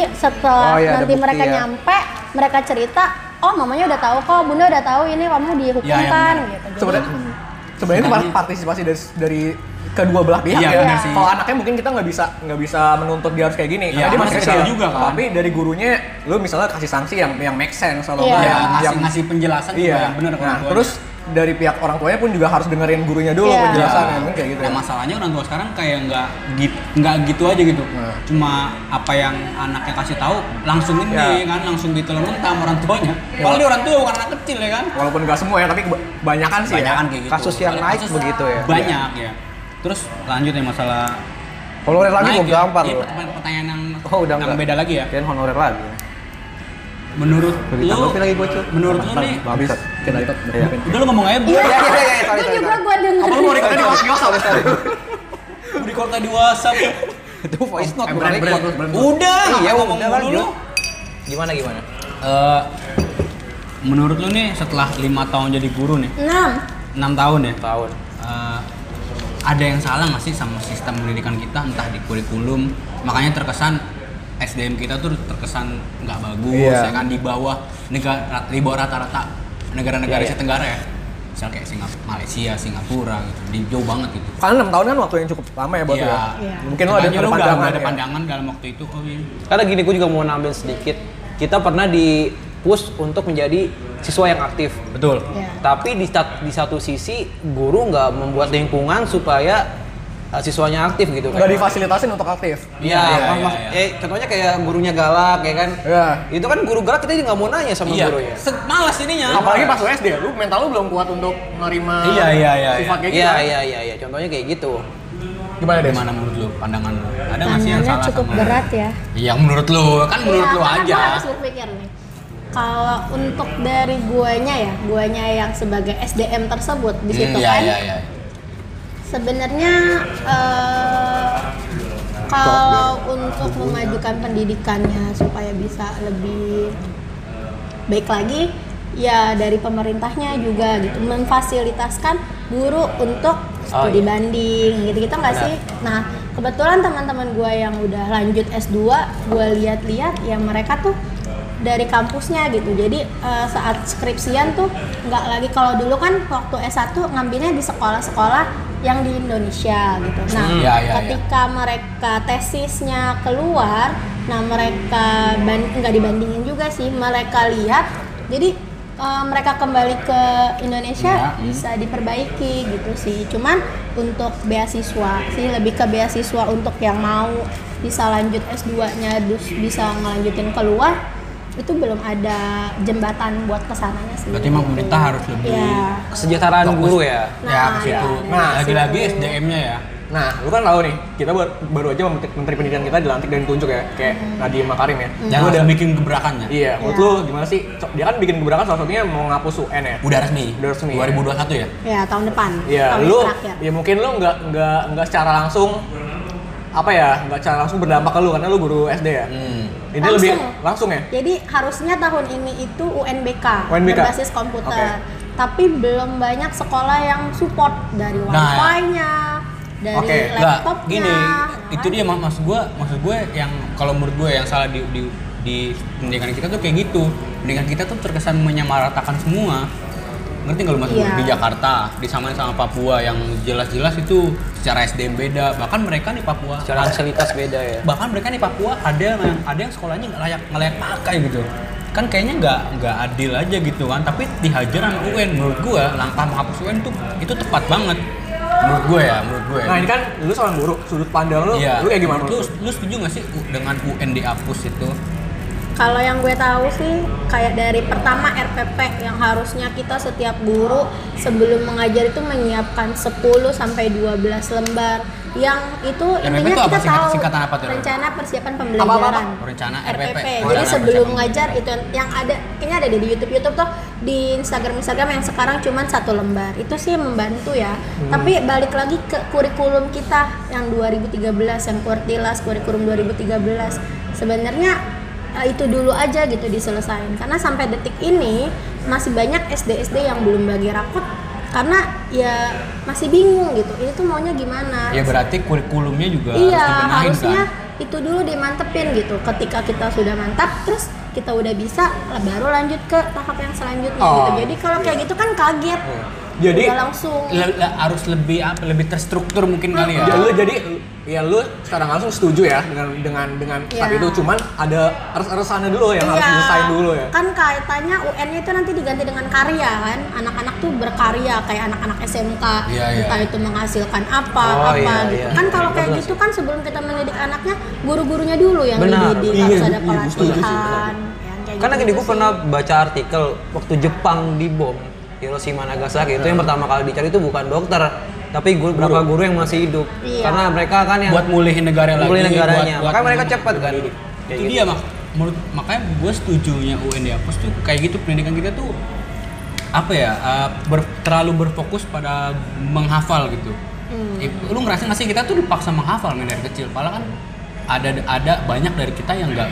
Oh, setelah iya, ada nanti bukti mereka ya. nyampe mereka cerita oh mamanya udah tahu kok bunda udah tahu ini kamu dihukum Iya, iya, kan benar. gitu Jadi- sebenarnya sebenarnya itu Sebenarnya- partisipasi dari dari kedua belah pihak Iya, ya. benar sih. Kalau anaknya mungkin kita nggak bisa nggak bisa menuntut dia harus kayak gini. Iya, karena dia masih kecil juga kan. Tapi dari gurunya, lu misalnya kasih sanksi yang yang make sense atau Iya. ya, yang, ngasih yang ngasih penjelasan juga iya. yang benar nah, terus dari pihak orang tuanya pun juga harus dengerin gurunya dulu Iya. penjelasannya kan Iya. mungkin kayak gitu. Nah, ya. masalahnya orang tua sekarang kayak nggak gitu, nggak gitu aja gitu. Nah. Cuma apa yang anaknya kasih tahu langsung ini Iya. Ya. kan, langsung ditelan mentah sama orang tuanya. Padahal dia orang tua bukan anak kecil ya kan. Walaupun nggak semua ya, tapi kebanyakan sih. Banyakan ya. kayak gitu. Iya. Kasus yang naik begitu ya. Banyak ya. Terus lanjut ya masalah Honorer lagi naik gue ya. gampar Ini loh. pert- pertanyaan yang Oh, udah yang nggak. beda lagi ya. Kalian honorer lagi. Menurut Beri lu tanggapi lagi gue cuy. Menurut lu nih, Habis. Kena itu. udah lu ngomong aja. Bu. Iya, iya, iya, iya, sorry, Gue sorry, juga sorry. gue denger. Apa lu mau record [LAUGHS] di Sorry, sorry, sorry. Beri kota di WhatsApp. Itu voice note Eh, bukan brand, brand, record. brand. Udah, Iya, ngomong udah kan, dulu. Jo. Gimana gimana? Eh, menurut lu nih setelah lima tahun jadi guru nih, Enam. enam tahun ya, Tahun. eh, ada yang salah nggak sih sama sistem pendidikan kita entah di kurikulum, makanya terkesan SDM kita tuh terkesan nggak bagus, Iya. ya kan di bawah negara di bawah rata-rata Iya, negara-negara Asia Tenggara ya, misal kayak Singapura, Malaysia, Singapura gitu, di jauh banget gitu. Karena 6 tahun kan waktu yang cukup lama ya buat Iya. lu ya. Iya. Mungkin lo ada Makanya nggak- pandangan. nggak ada ya. pandangan dalam waktu itu, oh iya. Karena gini, gue juga mau nambahin sedikit. Kita pernah di push untuk menjadi siswa yang aktif. Betul. Ya. Tapi di, sat- di satu sisi guru nggak membuat lingkungan supaya uh, siswanya aktif gitu Nggak kan. difasilitasin untuk aktif. Iya, Iya, kan, iya, mas- iya. eh, contohnya kayak gurunya galak ya kan. Iya. Itu kan guru galak kita nggak mau nanya sama Iya. gurunya. Iya, Se- Malas ininya. Apalagi pas lu SD, lu mental lu belum kuat untuk menerima Iya, iya, iya, sifat kayak gitu. Iya, kan? iya, iya, iya, contohnya kayak gitu. Gimana deh? Gimana menurut lu pandangan lu? Ada nggak sih yang Tangannya salah cukup sama- berat ya. Yang menurut lu, kan menurut Iya, lu karena aja. gua harus berpikir nih. Kalau untuk dari guanya ya, guanya yang sebagai SDM tersebut di situ Hmm, iya, kan. iya, iya. Sebenarnya eh, kalau untuk memajukan pendidikannya supaya bisa lebih baik lagi ya dari pemerintahnya juga gitu memfasilitaskan guru untuk Oh, studi banding gitu-gitu nggak sih? Nah kebetulan teman-teman gue yang udah lanjut S2 gue lihat-lihat ya mereka tuh dari kampusnya gitu jadi eh, saat skripsian tuh nggak lagi kalau dulu kan waktu S1 ngambilnya di sekolah-sekolah yang di Indonesia gitu. Nah Hmm, ya, ya, ya. ketika mereka tesisnya keluar, nah mereka ban- nggak dibandingin juga sih, mereka lihat, jadi eh, mereka kembali ke Ya, Indonesia hmm. bisa diperbaiki gitu sih. Cuman untuk beasiswa sih lebih ke beasiswa untuk yang mau bisa lanjut S2-nya, dus bisa ngelanjutin keluar itu belum ada jembatan buat kesananya sih. Berarti emang pemerintah harus lebih- Iya. Kesejahteraan Fokus. guru ya. Ya ke situ. iya, Nah, ke lagi-lagi situ. SDM-nya ya. Nah, lu kan tahu nih, kita baru, baru aja menteri, menteri pendidikan kita dilantik dan ditunjuk ya, kayak Hmm. Nadiem Makarim ya. Jangan Lu udah udah bikin gebrakannya. Iya, menurut Iya. lu gimana sih? Co- Dia kan bikin gebrakan salah satunya mau ngapus UN ya. Udah resmi. Udah resmi, 2021 ya. Ya, tahun depan. Iya, tahun lu terakhir. ya mungkin lu nggak nggak nggak secara langsung apa ya, nggak secara langsung berdampak ke lu karena lu guru SD ya. Hmm. Ini Langsung. lebih langsung ya. Jadi harusnya tahun ini itu UNBK, UNBK? berbasis komputer. Oke. Tapi belum banyak sekolah yang support dari Nah. wifi-nya, dari Oke, Nggak, laptopnya. gini, Nah, ya itu kan? dia ma- maksud gue, maksud gue yang kalau menurut gue yang salah di di, di pendidikan kita tuh kayak gitu. Pendidikan kita tuh terkesan menyamaratakan semua. Ngerti nggak lu maksud gue? Iya. Di Jakarta, disamain sama Papua yang jelas-jelas itu secara SDM beda. Bahkan mereka di Papua, Secara fasilitas beda ya. bahkan mereka di Papua ada yang ada yang sekolahnya nggak layak nggak layak pakai gitu. Kan kayaknya nggak nggak adil aja gitu kan. Tapi dihajar sama UN menurut gue langkah menghapus UN tuh itu tepat banget. Menurut gue ya, menurut gue. Nah ini kan lu seorang guru, sudut pandang lu, Iya. lu kayak gimana? Lu, lu setuju gak sih U- dengan UN dihapus itu? Kalau yang gue tahu sih kayak dari pertama RPP yang harusnya kita setiap guru sebelum mengajar itu menyiapkan 10 sampai 12 lembar yang itu RPP intinya itu apa? kita Singkat- tahu singkatan apa tuh? rencana persiapan pembelajaran Rencana RPP. RPP. Jadi Rencana sebelum persiapan mengajar pembelajaran. itu yang- gitu. yang ada kayaknya ada deh di YouTube YouTube tuh di Instagram Instagram yang sekarang cuman satu lembar itu sih membantu ya. Tapi balik lagi ke kurikulum kita yang 2013 yang Kurtilas kurikulum 2013 sebenarnya eh, itu dulu aja gitu diselesain karena sampai detik ini masih banyak SD SD yang belum bagi rapot karena ya masih bingung gitu ini tuh maunya gimana Ya berarti kurikulumnya juga iya harus dibenahin harusnya kan? itu dulu dimantepin gitu ketika kita sudah mantap terus kita udah bisa lah baru lanjut ke tahap yang selanjutnya gitu jadi kalau kayak gitu kan kaget Jadi- Udah Iya, langsung Le- le- harus lebih apa, lebih terstruktur mungkin kali ya. Ya, lu jadi ya lu sekarang langsung setuju ya dengan dengan dengan saat Iya. itu cuman ada ers-ersannya dulu yang harus Iya. diselesaikan dulu ya. Kan kaitannya UN itu nanti diganti dengan karya kan. Anak-anak tuh berkarya kayak anak-anak SMK. Iya, iya. Entah itu menghasilkan apa, Oh, apa iya, gitu. iya. Kan kalau kayak gitu kan sebelum kita mendidik anaknya, guru-gurunya dulu yang Benar. dididik Iya, harus iya, ada iya, gua setuju sih, pelatihan. gitu Karena gini, gue Kan pernah baca artikel waktu Jepang dibom Hiroshima Nagasaki itu yang pertama kali dicari itu bukan dokter, tapi guru, berapa guru yang masih hidup. Iya. Karena mereka kan yang buat mulihin negara lagi. Mulihin negaranya. buat- buat Makanya mereka mem- cepet kan. mendidik. Kayak itu gitu. dia mak menurut makanya gue setujunya UN dihapus tuh kayak gitu pendidikan kita tuh apa ya uh, ber- terlalu berfokus pada menghafal gitu. Hmm. Eh, lu ngerasa nggak sih kita tuh dipaksa menghafal men dari kecil, padahal kan ada ada banyak dari kita yang nggak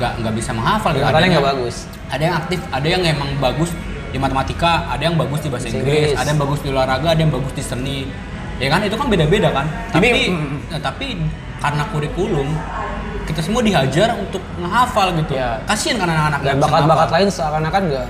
nggak nggak bisa menghafal. Ada kan? Makanya yang- nggak bagus. ada yang aktif, ada yang emang bagus di matematika, ada yang bagus di bahasa Bahasa Inggris, Inggris. ada yang bagus di olahraga, ada yang bagus di seni. Ya kan itu kan beda-beda kan. Tapi eh, tapi karena kurikulum kita semua dihajar untuk menghafal gitu. Iya. Kasihan kan anak-anak Dan nggak bisa bakat-bakat ngapal. lain seakan-akan nggak.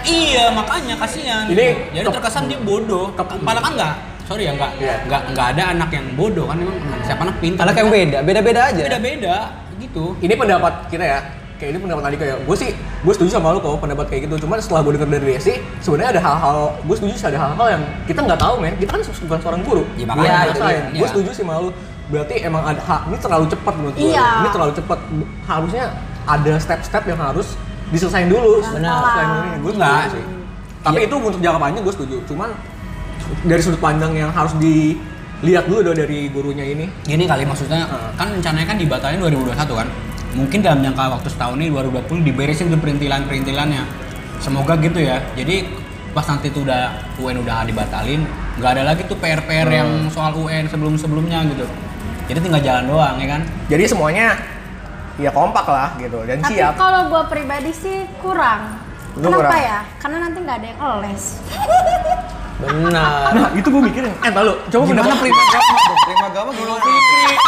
Iya, makanya kasihan. Ini jadi ke- terkesan dia bodoh. Padahal kan enggak. Sorry ya, enggak, enggak, enggak ada anak yang bodoh kan memang siapa anak Iya. pintar. Anak yang beda, beda-beda aja. beda-beda gitu. Ini pendapat kita ya. Kayak ini pendapat Andika ya. Gue sih gue setuju sama lu kalau pendapat kayak gitu. Cuman setelah gue denger dari Desi, sebenarnya ada hal-hal gue setuju sih ada hal-hal yang kita nggak tahu men. Kita kan bukan seorang guru. Iya, Bukan makanya yang itu ngerasain. dia. Gue Iya. setuju sih sama lu. Berarti emang ada hak ini terlalu cepat menurut gue. Iya. Ini terlalu cepat. Harusnya ada step-step yang harus diselesain dulu. Benar. Selain ini gue Nggak. enggak sih. Tapi itu untuk jangka panjang gue setuju. Cuman dari sudut pandang yang harus dilihat dulu dong dari gurunya ini. Gini kali maksudnya kan rencananya kan dibatalin 2021 kan. Mungkin dalam jangka waktu setahun ini 2020 diberesin tuh perintilan-perintilannya. Semoga gitu ya. Jadi pas nanti tuh udah UN udah dibatalin, nggak ada lagi tuh PR-PR yang soal UN sebelum-sebelumnya gitu. Jadi tinggal jalan doang ya kan. Jadi semuanya ya kompak lah gitu dan Tapi siap. kalau gue pribadi sih kurang. Lu Kenapa kurang? ya? Karena nanti nggak ada yang les. Benar. Nah itu gue mikirin. Eh lalu coba Gimana pendapat- prima gama? dong? Prima gama gimana?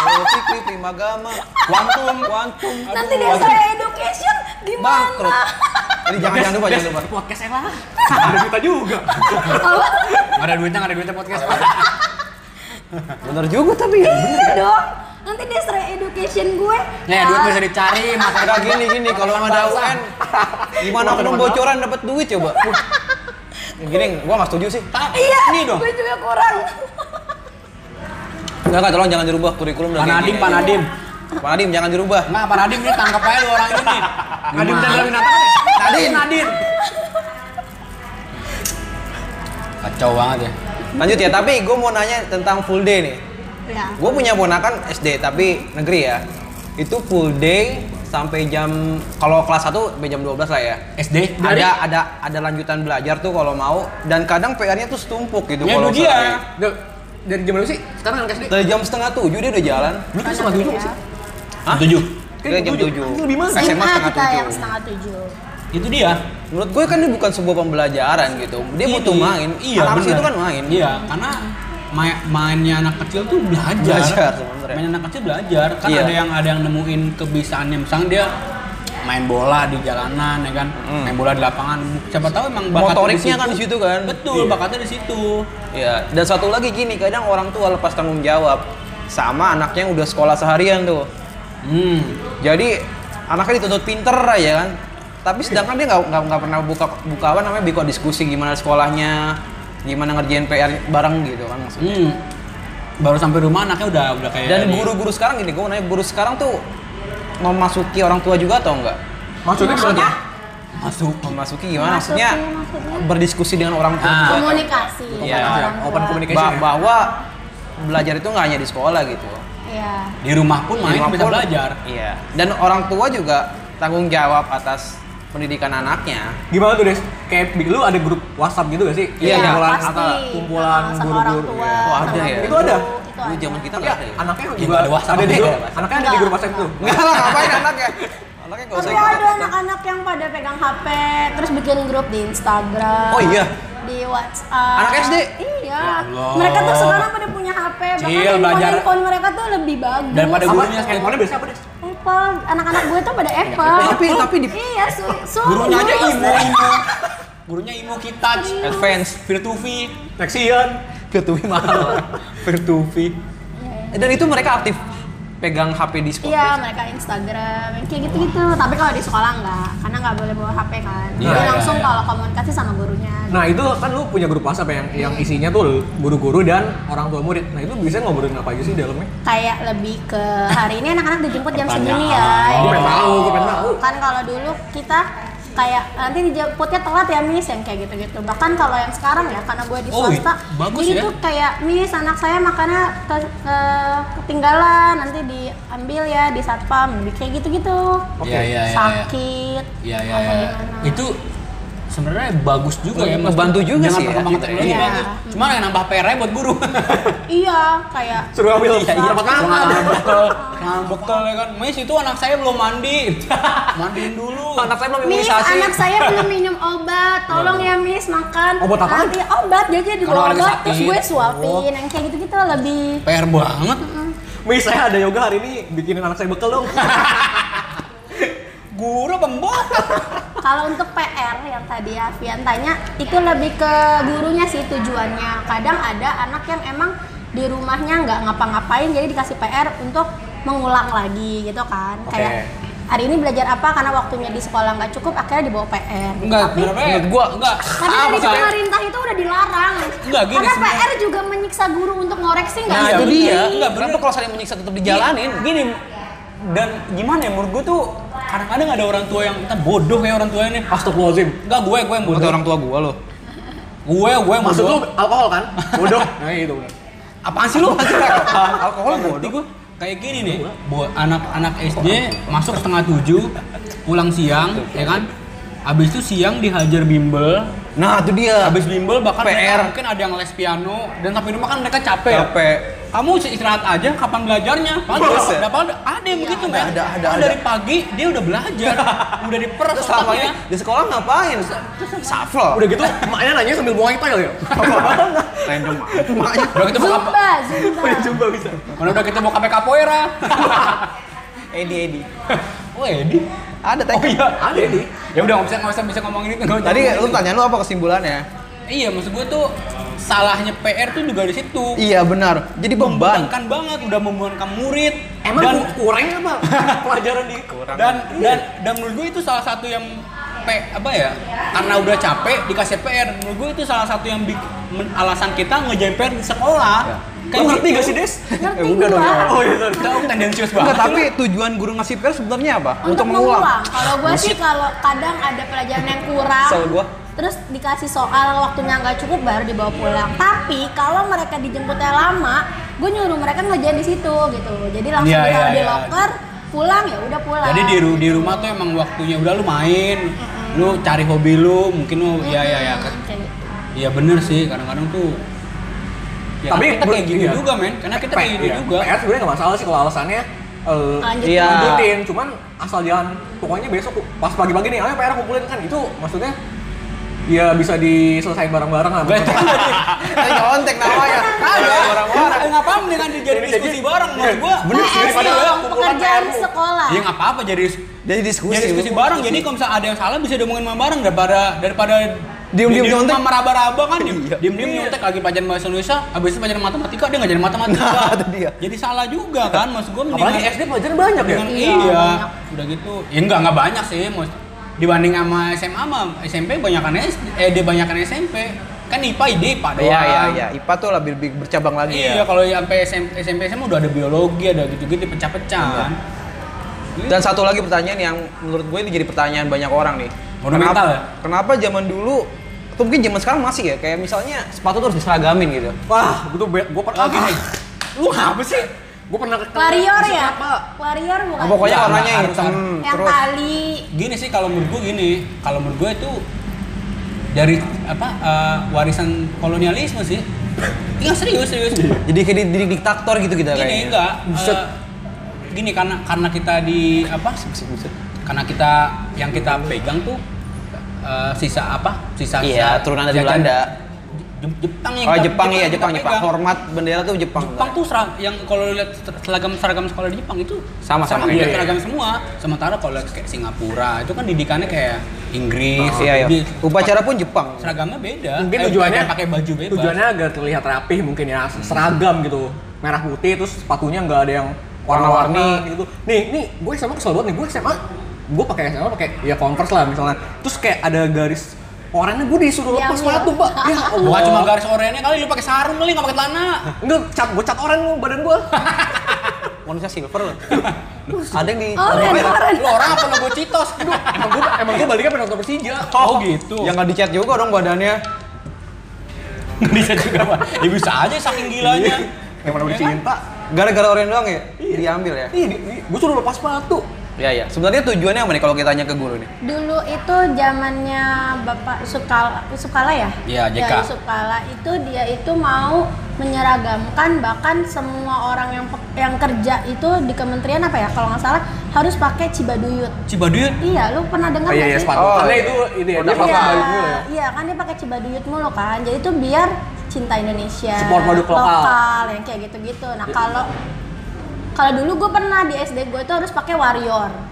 Hello Fikri, prima gama. Kuantum, kuantum. nanti dia saya education gimana? bangkrut. Jadi jangan jangan lupa, jangan lupa. Podcast lah. ada kita juga. Nggak ada duitnya, nggak ada duitnya podcast. Bener juga tapi ya. [LAUGHS] Iya dong. Nanti dia serai education gue. Ya, duit bisa dicari, masa Enggak gini gini kalau ada UN gimana oknum bocoran dapat duit coba. [LAUGHS] Wah. Gini gua nggak setuju sih. tak. Iya. Ini dong. Gue juga kurang. Enggak enggak tolong jangan dirubah kurikulum Pak Nadim, Pak Nadim. Pak Nadim jangan dirubah. Nggak, Pak Nadim ini tangkap aja dua orang [LAUGHS] ini nih. Nadim dan Gimana? Laminata. Nadim, Nadim. Kacau banget ya. Lanjut ya, tapi gua mau nanya tentang full day nih. Ya. Gue punya ponakan SD tapi negeri ya. Itu full day sampai jam kalau kelas 1 sampai jam 12 lah ya. SD Ada ada ada lanjutan belajar tuh kalau mau dan kadang PR-nya tuh setumpuk gitu Ya, kalau itu dia. sehari. Duh, Dari jam berapa sih? Sekarang kan SD. Dari jam setengah tujuh dia udah jalan. Lu kan setengah tujuh sih. Hah? Tujuh. Kita Kan jam tujuh. Lu di mana? SMA SMA setengah kita yang tujuh. setengah tujuh. Itu dia. Menurut gue kan ini bukan sebuah pembelajaran gitu. Dia Ini. butuh main. Iya, Anak benar. itu kan main. Iya, karena ma- mainnya anak kecil tuh belajar. Belajar sebenarnya. Main anak kecil belajar. Kan Iya. ada yang ada yang nemuin kebiasaannya. Misalnya dia main bola di jalanan ya kan, main bola di lapangan. Siapa tahu emang bakatnya Hmm. Motoriknya kan di situ kan. Betul, bakatnya di situ. Ya, dan satu lagi gini, kadang orang tua lepas tanggung jawab sama anaknya yang udah sekolah seharian tuh. Hmm. Jadi anaknya dituntut pinter aja kan. Tapi sedangkan dia nggak nggak nggak pernah buka buka apa namanya biko diskusi gimana sekolahnya, gimana ngerjain PR bareng gitu kan maksudnya. Hmm. Baru sampai rumah anaknya udah udah kayak Dan di- guru-guru sekarang gini, gue nanya guru sekarang tuh memasuki orang tua juga atau enggak? Maksudnya gimana? masuk. Memasuki gimana? Maksudnya berdiskusi dengan orang tua. Ah. juga. komunikasi Iya. sama orang tua. Open communication. Ba- bahwa belajar itu nggak hanya di sekolah gitu. Iya. Di rumah pun Jadi main bisa walaupun- belajar. Iya. Dan orang tua juga tanggung jawab atas pendidikan anaknya. Gimana tuh, Des? Kayak dulu ada grup WhatsApp gitu gak sih? Iya, Iya, kumpulan pasti. apa? Kumpulan Sama orang guru-guru. tua, Oh, ada sama ya? guru. Itu ada. Itu Dulu ada. zaman kita Tapi nggak ada. ya? Iya, anaknya Ya, juga nggak ada WhatsApp, ada gitu. di nggak grup. ada WhatsApp. Anaknya ada di grup WhatsApp itu. Enggak lah, ngapain anaknya? Anaknya Oh, nggak usah Tapi ikut. ada anak-anak yang pada pegang HP, terus bikin grup di Instagram. Oh, iya? Di WhatsApp. Anak SD? Iya. Ya Allah. Mereka tuh sekarang pada punya HP, bahkan Cil, handphone, belajar. handphone mereka tuh lebih bagus. Daripada Apa? gurunya sekarang. Handphonenya biasa apa, Des? Apple, anak-anak gue tuh pada Apple. Tapi tapi di Iya, su, su Gurunya aja guru- imo [LAUGHS] imo. Gurunya imo kita. Iya. advance Virtuvi. Nexian. Ketuwi mahal. Virtuvi. Dan itu mereka aktif pegang HP di ya. sekolah. Iya, mereka Instagram, yang kayak gitu-gitu. Tapi kalau di sekolah enggak, karena nggak boleh bawa HP kan. Iya, Jadi iya, langsung iya. kalau komunikasi sama gurunya. Nah itu kan lu punya grup WhatsApp yang yang isinya tuh guru-guru dan orang tua murid. Nah itu bisa ngobrolin apa aja sih di dalamnya? Kayak lebih ke hari ini anak-anak dijemput jam segini ya. Oh, Gue pengen gitu. tahu, gue pengen tahu. Kan kalau dulu kita kayak nanti dijemputnya telat ya miss yang kayak gitu-gitu bahkan kalau yang sekarang ya karena gue di Oh, swasta iya. Bagus jadi ya. tuh kayak miss anak saya makannya ke- ke- ketinggalan nanti diambil ya di satpam kayak gitu-gitu Iya, iya, iya, iya. sakit Iya iya apa iya. gimana. Itu sebenarnya bagus juga Iya, ya, Mas. Ngebantu juga Jangan sih ya. perkembangan teknologi Iya. bagus. Cuma yang nambah PR-nya buat [LAUGHS] guru. Iya, kayak Suruh ambil Iya, iya. tempat Jangan tangan. nambah bekal, nambah bekal ya kan. Miss itu anak saya belum mandi. [LAUGHS] Mandiin dulu. Anak saya belum Miss, imunisasi. anak saya [LAUGHS] belum minum obat. Tolong ya, Miss, makan. Obat apaan? Nanti obat jadi di Kalau obat lagi terus sakit. gue Oh. suapin. Yang kayak gitu-gitu lebih PR banget. Mi saya ada yoga hari ini bikinin anak saya bekal dong. Guru pembohong. kalau untuk PR yang tadi Afian tanya itu lebih ke gurunya sih tujuannya. Kadang ada anak yang emang di rumahnya nggak ngapa-ngapain jadi dikasih PR untuk mengulang lagi gitu kan. Oke. Kayak hari ini belajar apa karena waktunya di sekolah nggak cukup akhirnya dibawa PR. Enggak, ya? menurut gua enggak. Karena Apa dari kan? pemerintah itu udah dilarang. Enggak, gini Karena sebenarnya. PR juga menyiksa guru untuk ngoreksi nggak Nah, sih? itu dia. Enggak, bener. Kenapa kalau saling menyiksa tetap dijalanin? Gini, dan gimana ya menurut gua tuh kadang-kadang ada orang tua yang kita bodoh kayak orang tuanya nih. Astagfirullahaladzim. Enggak, gue gue yang bodoh. Kata orang tua gua loh. Gue gue yang Maksud bodoh. lu alkohol kan? Bodoh. [LAUGHS] Nah itu benar. Apaan sih lu? Ah, Alkohol Ngerti gua. Kayak gini nih, buat anak-anak SD masuk setengah tujuh, pulang siang, ya kan? Abis itu siang dihajar bimbel, Nah, itu dia. abis bimbel bahkan mereka PR. mungkin ada yang les piano dan sampai rumah kan mereka capek. capek. kamu istirahat aja kapan belajarnya padahal Buset. ada padahal ada yang begitu Iya, men ada, ada, Padahal ada. dari pagi dia udah [LAUGHS] belajar udah diperes Terus selama ini otaknya di sekolah ngapain? Shuffle. Udah gitu emaknya nanya sambil buang itu [LAUGHS] ya. random aja. udah kita mau Zumba, Zumba. Jumpa bisa. mana udah kita mau kape kapoeira [LAUGHS] Edi Edi. [LAUGHS] oh Edi Ada oh tadi. iya ada Edi ya udah nggak bisa nggak bisa bisa ngomongin itu nggak usah Tadi ngomongin lu itu. tanya lu apa kesimpulannya? iya maksud gue tuh salahnya PR tuh juga di situ Iya benar. Jadi beban. membebankan banget udah membebankan murid Emang dan kurang ya, apa? [LAUGHS] Pelajaran di dan Iya. dan dan menurut gue itu salah satu yang pe, apa ya karena udah capek dikasih PR menurut gue itu salah satu yang bik- men- alasan kita ngejain PR di sekolah Kamu Ya. ngerti gak sih Des? Eh, Ngerti udah dong. ya. gua. Oh iya sorry. Kau tendensius Enggak, banget tapi tujuan guru ngasih PR sebenarnya apa? Untuk, mengulang. Kalau gue sih kalau kadang ada pelajaran yang kurang. Kesel gua. Terus dikasih soal waktunya nggak cukup baru dibawa pulang. Tapi kalau mereka dijemputnya lama, gue nyuruh mereka ngerjain di situ gitu. Jadi langsung Iya, ditaruh iya, di iya. locker, pulang ya udah pulang. jadi di, ru- di rumah iya, tuh emang waktunya udah lu main lu cari hobi lu mungkin lu ya ya ya Hmm, kayak gitu. ya bener sih kadang-kadang tuh ya, Tapi tapi kita kayak menurut- gini iya. juga men karena kita kayak gini Iya. juga PR sebenarnya nggak masalah sih kalau alasannya eh, Lanjut. Iya. lanjutin cuman asal jangan pokoknya besok pas pagi-pagi nih ayo PR kumpulin kan itu maksudnya ya bisa diselesain bareng-bareng lah. Saya nyontek namanya. Ada orang-orang. Nggak apa-apa dengan dijadiin diskusi bareng maksud gua. Iya. Bener sih, PR daripada dong, lo pekerjaan sekolah. Ya nggak apa-apa jadi Jadi diskusi. jadi Iya, diskusi bareng. Jadi kalau misalnya ada yang salah bisa diomongin sama bareng daripada daripada Diem-diem nyontek. Iya. sama raba-raba kan diem diem nyontek lagi pelajaran bahasa Indonesia habis itu pelajaran matematika dia nggak jadi matematika Nah, itu dia. jadi salah juga kan maksud gua Apalagi mendingan- SD pelajaran banyak ya. dengan Iya, iya, udah gitu ya enggak enggak banyak sih mas dibanding sama SMA mah SMP banyakan SD eh dia banyakan SMP kan IPA IDE IPA doang Iya, iya, iya. IPA tuh lebih, lebih bercabang lagi. iya kalau sampai SMP SMP SMA udah ada biologi ada gitu-gitu pecah-pecah Iya. kan Dan satu lagi pertanyaan yang menurut gue ini jadi pertanyaan banyak orang nih. Monumental kenapa, ya? Kenapa zaman dulu atau mungkin zaman sekarang masih ya kayak misalnya Sepatu tuh harus diseragamin gitu. Wah, gue tuh gue pernah lagi nih. Lu apa sih? Gue pernah ketemu. Warrior ya? Warrior bukan? ah, pokoknya Enggak, warnanya enggak, hitam Oh, iya. hmm, harus- yang terus tali. gini sih kalau menurut gue gini kalau menurut gue itu dari apa eh, warisan kolonialisme sih Iya serius serius jadi kayak di, di- diktator gitu kita kayaknya. gini enggak eh, gini karena karena kita di apa Ah, karena kita yang kita pegang tuh eh, sisa apa sisa Iya, sisa turunan dari jajan- Belanda. Je- Jepang yang Oh kita- Jepang iya yang Jepang kita Jepang pegang. hormat bendera tuh Jepang. Jepang tuh serag- yang kalau lihat seragam seragam sekolah di Jepang itu Sama, sama juga kayak- seragam semua. Sementara kalau lihat kayak Singapura itu kan didikannya kayak Inggris, iya iya. di- Upacara pun Jepang. seragamnya beda. Mungkin Eh, tujuannya kayak pakai baju bebas. Tujuannya agar terlihat rapih mungkin ya, seragam gitu. Merah putih terus sepatunya nggak ada yang warna-warni gitu. Nih, nih gue SMA kesel banget nih, gue SMA gue pakai SMA pakai ya Converse lah misalnya. Terus kayak ada garis oranye gue disuruh Ya lepas Allah. sepatu, Pak. [LAUGHS] Ya Allah. Bukan Iya, cuma garis oranye kali lu pakai sarung kali nggak pakai celana. Enggak, cat gue cat oranye lu badan gue. Manusia [LAUGHS] silver loh. Ada yang di Hmm, Oh, Oren, ya? oren. Lu orang apa nunggu citos? emang gue emang gue baliknya penonton Persija. Oh gitu. Yang nggak dicat juga dong badannya. nggak bisa juga Pak. Ya bisa aja saking gilanya. Yang Iya, mana udah cinta. Gara-gara orang doang ya Iya. diambil ya. Ih, gue suruh lepas sepatu. Iya iya. Sebenarnya tujuannya apa nih kalau kita tanya ke guru nih? Dulu itu zamannya Bapak Yusuf Kala, Yusuf Kala ya? Iya, JK. Ya, Yusuf Kala itu dia itu mau menyeragamkan bahkan semua orang yang pe- yang kerja itu di kementerian apa ya kalau nggak salah harus pakai cibaduyut. Cibaduyut Iya, lu pernah dengar Oh, iya, nggak iya, sih? sepatu. Oh, Karena iya. itu ini ya, Iya, dia pakai balik mulu ya. Iya, kan dia pakai cibaduyut mulu kan. Jadi itu biar cinta Indonesia. Support produk lokal. yang kayak gitu-gitu. Nah, kalau kalau dulu gue pernah di SD gue tuh harus pakai warrior. Ah,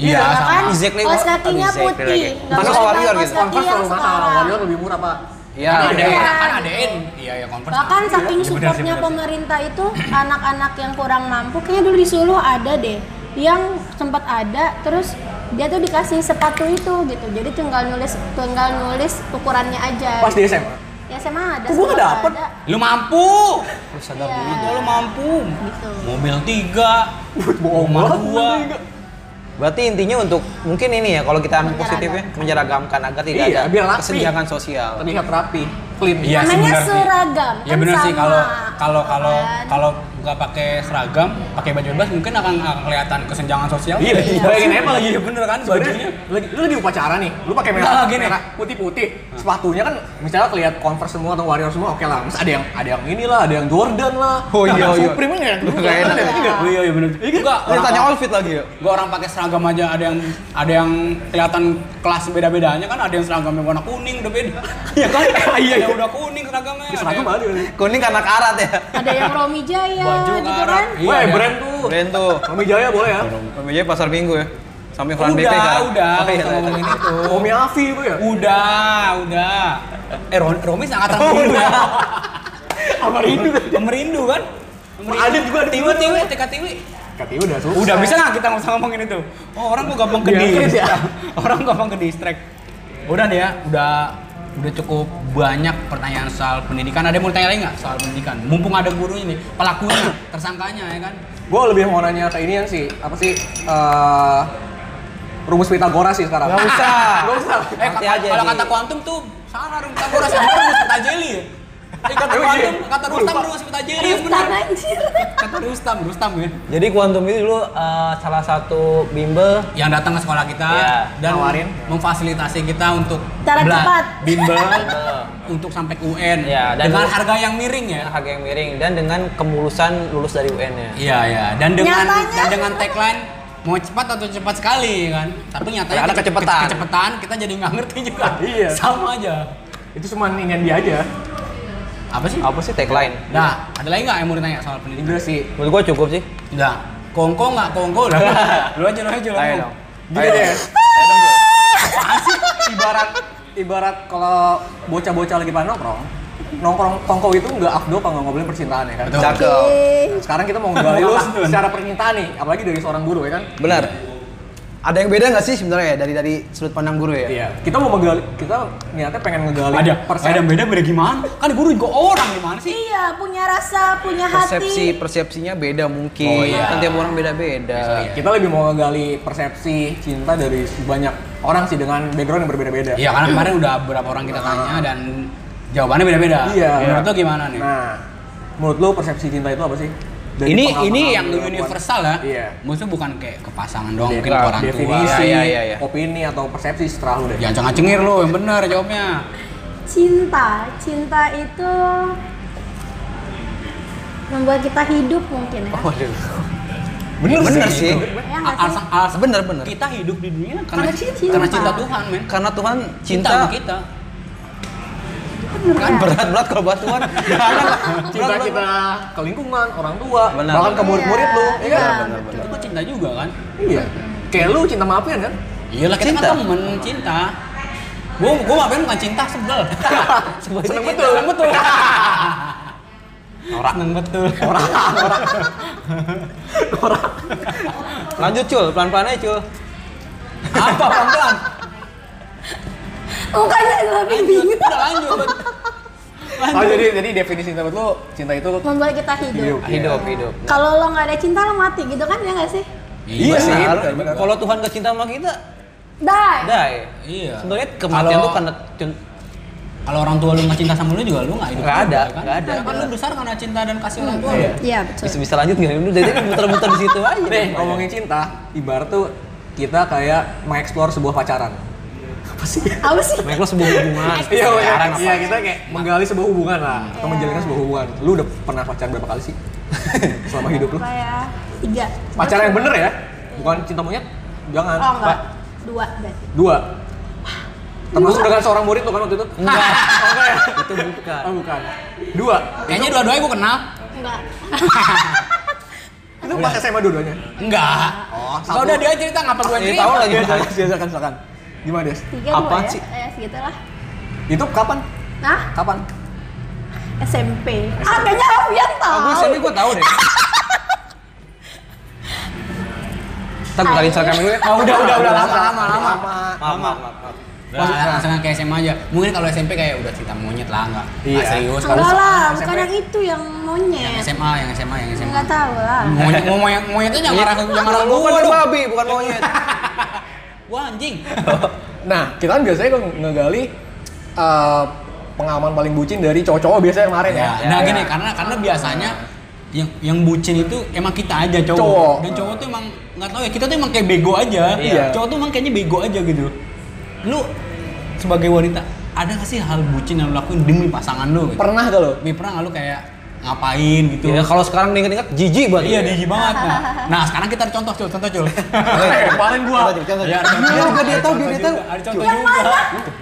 Iya, Ya sama. kan? Exactly, Kaos gua- kakinya exactly putih. lagi. Nggak Masa boleh pakai warrior kaos gitu? kaki Converse yang terlalu mahal, Iya, sekarang. warrior gitu. lebih murah, Pak. kan ada Iya. kan ada N. Iya ya konvers. Bahkan saking Iya, benar sih, supportnya benar sih. pemerintah itu anak-anak yang kurang mampu kayaknya dulu di Solo ada deh yang sempat ada terus dia tuh dikasih sepatu itu gitu jadi tinggal nulis tinggal nulis ukurannya aja Pas di SMA. ya SMA ada Kok gua nggak semua dapet? ada. Lu mampu. Iya. Lu lu mampu. Gitu. Mobil tiga, Bohong rumah banget. dua. Berarti intinya untuk mungkin ini ya kalau kita ambil positifnya menyeragamkan agar tidak ada Iya, biar rapi. kesenjangan sosial. Terlihat rapi, clean. Iya sih, Namanya benar sih. seragam, Ya kan benar sih sama. kalau kalau kalau Kan? kalau nggak pakai seragam, pakai baju bebas mungkin akan akan kelihatan kesenjangan sosial. Iya, Iya. bayangin aja lagi Iya, bener kan, Sebenarnya bajunya. lagi lu lagi upacara nih, lu pakai merah, Nggak, gini. merah putih-putih. Sepatunya kan misalnya kelihatan Converse semua atau Warrior semua, oke lah. Terus ada yang ada yang inilah, ada yang Jordan lah. Oh, iya, ada yang iya. Supreme nya. Nggak enak. Oh iya iya benar. Enggak, kan? Ini tanya outfit lagi ya. gua orang pakai seragam aja ada yang ada yang kelihatan kelas beda-bedanya kan ada yang seragamnya warna kuning udah beda. Iya [LAUGHS] kan? Iya, yang udah kuning seragamnya. ada Seragam ya, yang- ada. Kuning karena karat ya. ada yang Romi Jaya Baju gitu karat. kan Iya, Weh, ada. brand tuh. Keren tuh. Kami Jaya boleh ya. Namanya pasar minggu ya. Sampai Udah, koran BP kan. udah, Oh, iya, nggak usah iya. ngomongin itu. Omi Afi itu ya. Udah, udah. Eh, Ron- Romi sangat Oh, angkatan udah. udah. Sama Rindu deh. Pemerindu kan? Pemerindu. Ada juga, ada tiwi juga. tiwi, TK tiwi. Katanya udah susah. Udah bisa nggak kita nggak usah ngomongin itu? Oh orang kok gampang ke Diangkat ya. distract. [LAUGHS] Orang gampang ke distract. Udah deh ya, udah udah cukup banyak pertanyaan soal pendidikan. Ada yang mau tanya lagi nggak soal pendidikan? Mumpung ada gurunya nih, pelakunya, tersangkanya ya kan? Gue lebih mau nanya ke ini sih, apa sih eh, rumus Pitagoras sih sekarang. Nggak [LAUGHS] usah. Gak usah. Eh Nanti kata- aja kalau di- kata kuantum tuh salah rumus Pythagoras sama rumus Pitajeli ya. Eh kata Emang iya? kuantum, kata Gua Rustam lupa. rumus Pitajeli yang benar. Rustam anjir Kata Rustam, Rustam ya. Jadi kuantum itu dulu eh, salah satu bimbel Yang datang ke sekolah kita Iya, dan nawarin. memfasilitasi kita untuk Cara bela- cepat. bimbel untuk sampai ke UN Iya, dan- dengan harga yang miring ya. dengan harga yang miring dan dengan kemulusan lulus dari UN-nya. Iya ya, dan dengan Nyatanya- dan dengan tagline mau cepat atau cepat sekali kan tapi nyatanya Karena kece- kecepatan. kece- kecepetan kita jadi nggak ngerti juga Iya. sama aja Itu cuma ingin dia aja. apa sih Apa sih tagline? nah ada lagi nggak yang mau ditanya soal pendidikan Udah sih. Menurut gua cukup sih. udah kongko nggak kongko udah lu aja lu aja lu Ayo aja. dong. Gini deh. Ibarat ibarat kalau bocah-bocah lagi pada nongkrong, nongkrong tongko itu nggak afdol kalau nggak ngobrolin percintaan ya kan. Betul. Cakep. Sekarang kita mau ngegali lu Bukan. secara percintaan nih, apalagi dari seorang guru ya kan. Benar. Ada yang beda nggak sih sebenarnya ya dari dari sudut pandang guru ya? Iya. Kita mau menggali, kita niatnya pengen ngegali ada persen- ada yang beda beda gimana kan guru juga orang gimana sih Iya, punya rasa, punya Persepsi hati. persepsinya beda mungkin. Oh, iya. Kan tiap orang beda-beda. Kita lebih mau ngegali persepsi cinta dari banyak orang sih dengan background yang berbeda-beda. iya karena kemarin udah berapa orang kita tanya dan jawabannya beda beda Ah. Iya. menurut lu gimana nih Nah, menurut lu persepsi cinta itu apa sih? Dari ini pengalaman ini yang lu lakukan. universal ya Iya. maksudnya bukan kayak ke pasangan doang mungkin Iya, ke orang tua Ya, iya. Definisi, Iya, iya, iya. opini atau persepsi setelah lu deh. jangan cengat cengir lu yang bener jawabnya cinta cinta itu membuat kita hidup mungkin Oh, ya Waduh. Bener, Bener ya nggak sih? sih. alasan iya. alasan Bener bener. kita hidup di dunia karena Karena cinta cinta. karena cinta Tuhan men Karena Tuhan cinta cinta, sama kita Bener kan ya? berat berat kalau buat [LAUGHS] Tuhan. Cinta-cinta ke lingkungan, orang tua, Benar. bahkan ke murid-murid lu, Iya, iya kan? benar, itu kok cinta juga kan Iya. Kayak lu cinta sama Alfian kan? iyalah kita Cinta. kan temen cinta gua gua maafin bukan cinta sebel Seneng betul. Seneng [LAUGHS] betul. orang betul Orang, orang. Orang. Lanjut cul, pelan-pelan aja cul. apa pelan pelan Mukanya lebih lanjut udah lanjut Oh, jadi jadi definisi cinta menurut lu cinta itu Iya. membuat kita hidup. hidup. Hidup, hidup. Kalau lo nggak ada cinta lo mati gitu kan ya nggak sih? Iya sih. Benar. benar, benar. Kalau Tuhan gak cinta sama kita, Dah. ya. dai. Iya. Sebenarnya kematian Kalau- tuh karena cun- kalau orang tua lu nggak cinta sama lu juga lu nggak hidup Nggak juga, ada, kan? nggak ada. kan lu besar karena cinta dan kasih orang tua lu Iya. Iya betul. bisa bisa lanjut nggak? ya? Lu jadi muter-muter di situ aja. Nih, eh, ngomongin cinta, ibarat tuh kita kayak mengeksplor sebuah pacaran. Apa sih? Mereka lo sebuah hubungan. Eh, Iya, iya, Pacaran iya kita kayak menggali sebuah hubungan lah atau menjalinkan sebuah hubungan. Lu udah pernah pacaran berapa kali sih [LAUGHS] selama hidup lu? Apa ya? Tiga. Pacaran yang bener ya, bukan cinta monyet. Jangan. Oh enggak. Pa- Dua berarti. Dua. Termasuk dengan seorang murid lu kan waktu itu? Enggak. [LAUGHS] Oh, enggak ya? Itu bukan. Oh, bukan. Dua. kayaknya dua-duanya gua [LAUGHS] kenal Enggak. Itu pas SMA dua-duanya. enggak Oh, kalau udah dia cerita ngapa gua Ini cerita Iya, tahu lagi. Silakan, silakan, kan, silakan. Gimana, Des? Tiga Apaan dua sih? ya. Eh segitu lah. Itu kapan? Nah Kapan? SMP. Ah kayaknya Alfian tahu. Aku SMP gue tahu deh. Kita buka Instagram dulu ya. oh, udah udah udah lama lama lama Maaf, maaf, maaf, maaf. Pas langsung kayak SMA aja mungkin kalau SMP kayak udah cinta monyet lah enggak Iya. Ah, serius kalau Enggak lah, bukan SMP. yang itu yang monyet. SMA yang SMA yang SMA Enggak tahu lah. monyet mau monyet monyet tuh Iya. jangan arah jangan arah Bukan gua dong babi, bukan monyet. gua anjing Nah, kita kan biasanya kalau ngegali eh, pengalaman paling bucin dari cowok-cowok biasanya yang kemarin ya. Ya, ya. nah gini karena karena biasanya yang yang bucin itu emang kita aja cowok, Cowok. dan cowok tuh emang nggak tahu ya kita tuh emang kayak bego aja Iya. cowok tuh emang kayaknya bego aja gitu lu sebagai wanita ada gak sih hal bucin yang lu lakuin demi pasangan lu gitu? Pernah gak lo? Tapi pernah nggak lu kayak ngapain gitu Iya. Ya, kalau sekarang diinget-inget, jijik banget. iya digi banget nah. nah sekarang kita ada contoh cul contoh cul Paling gua. Ya, ada Dia contoh. juga dia tahu, dia Ada dia tahu. contoh juga, ada contoh juga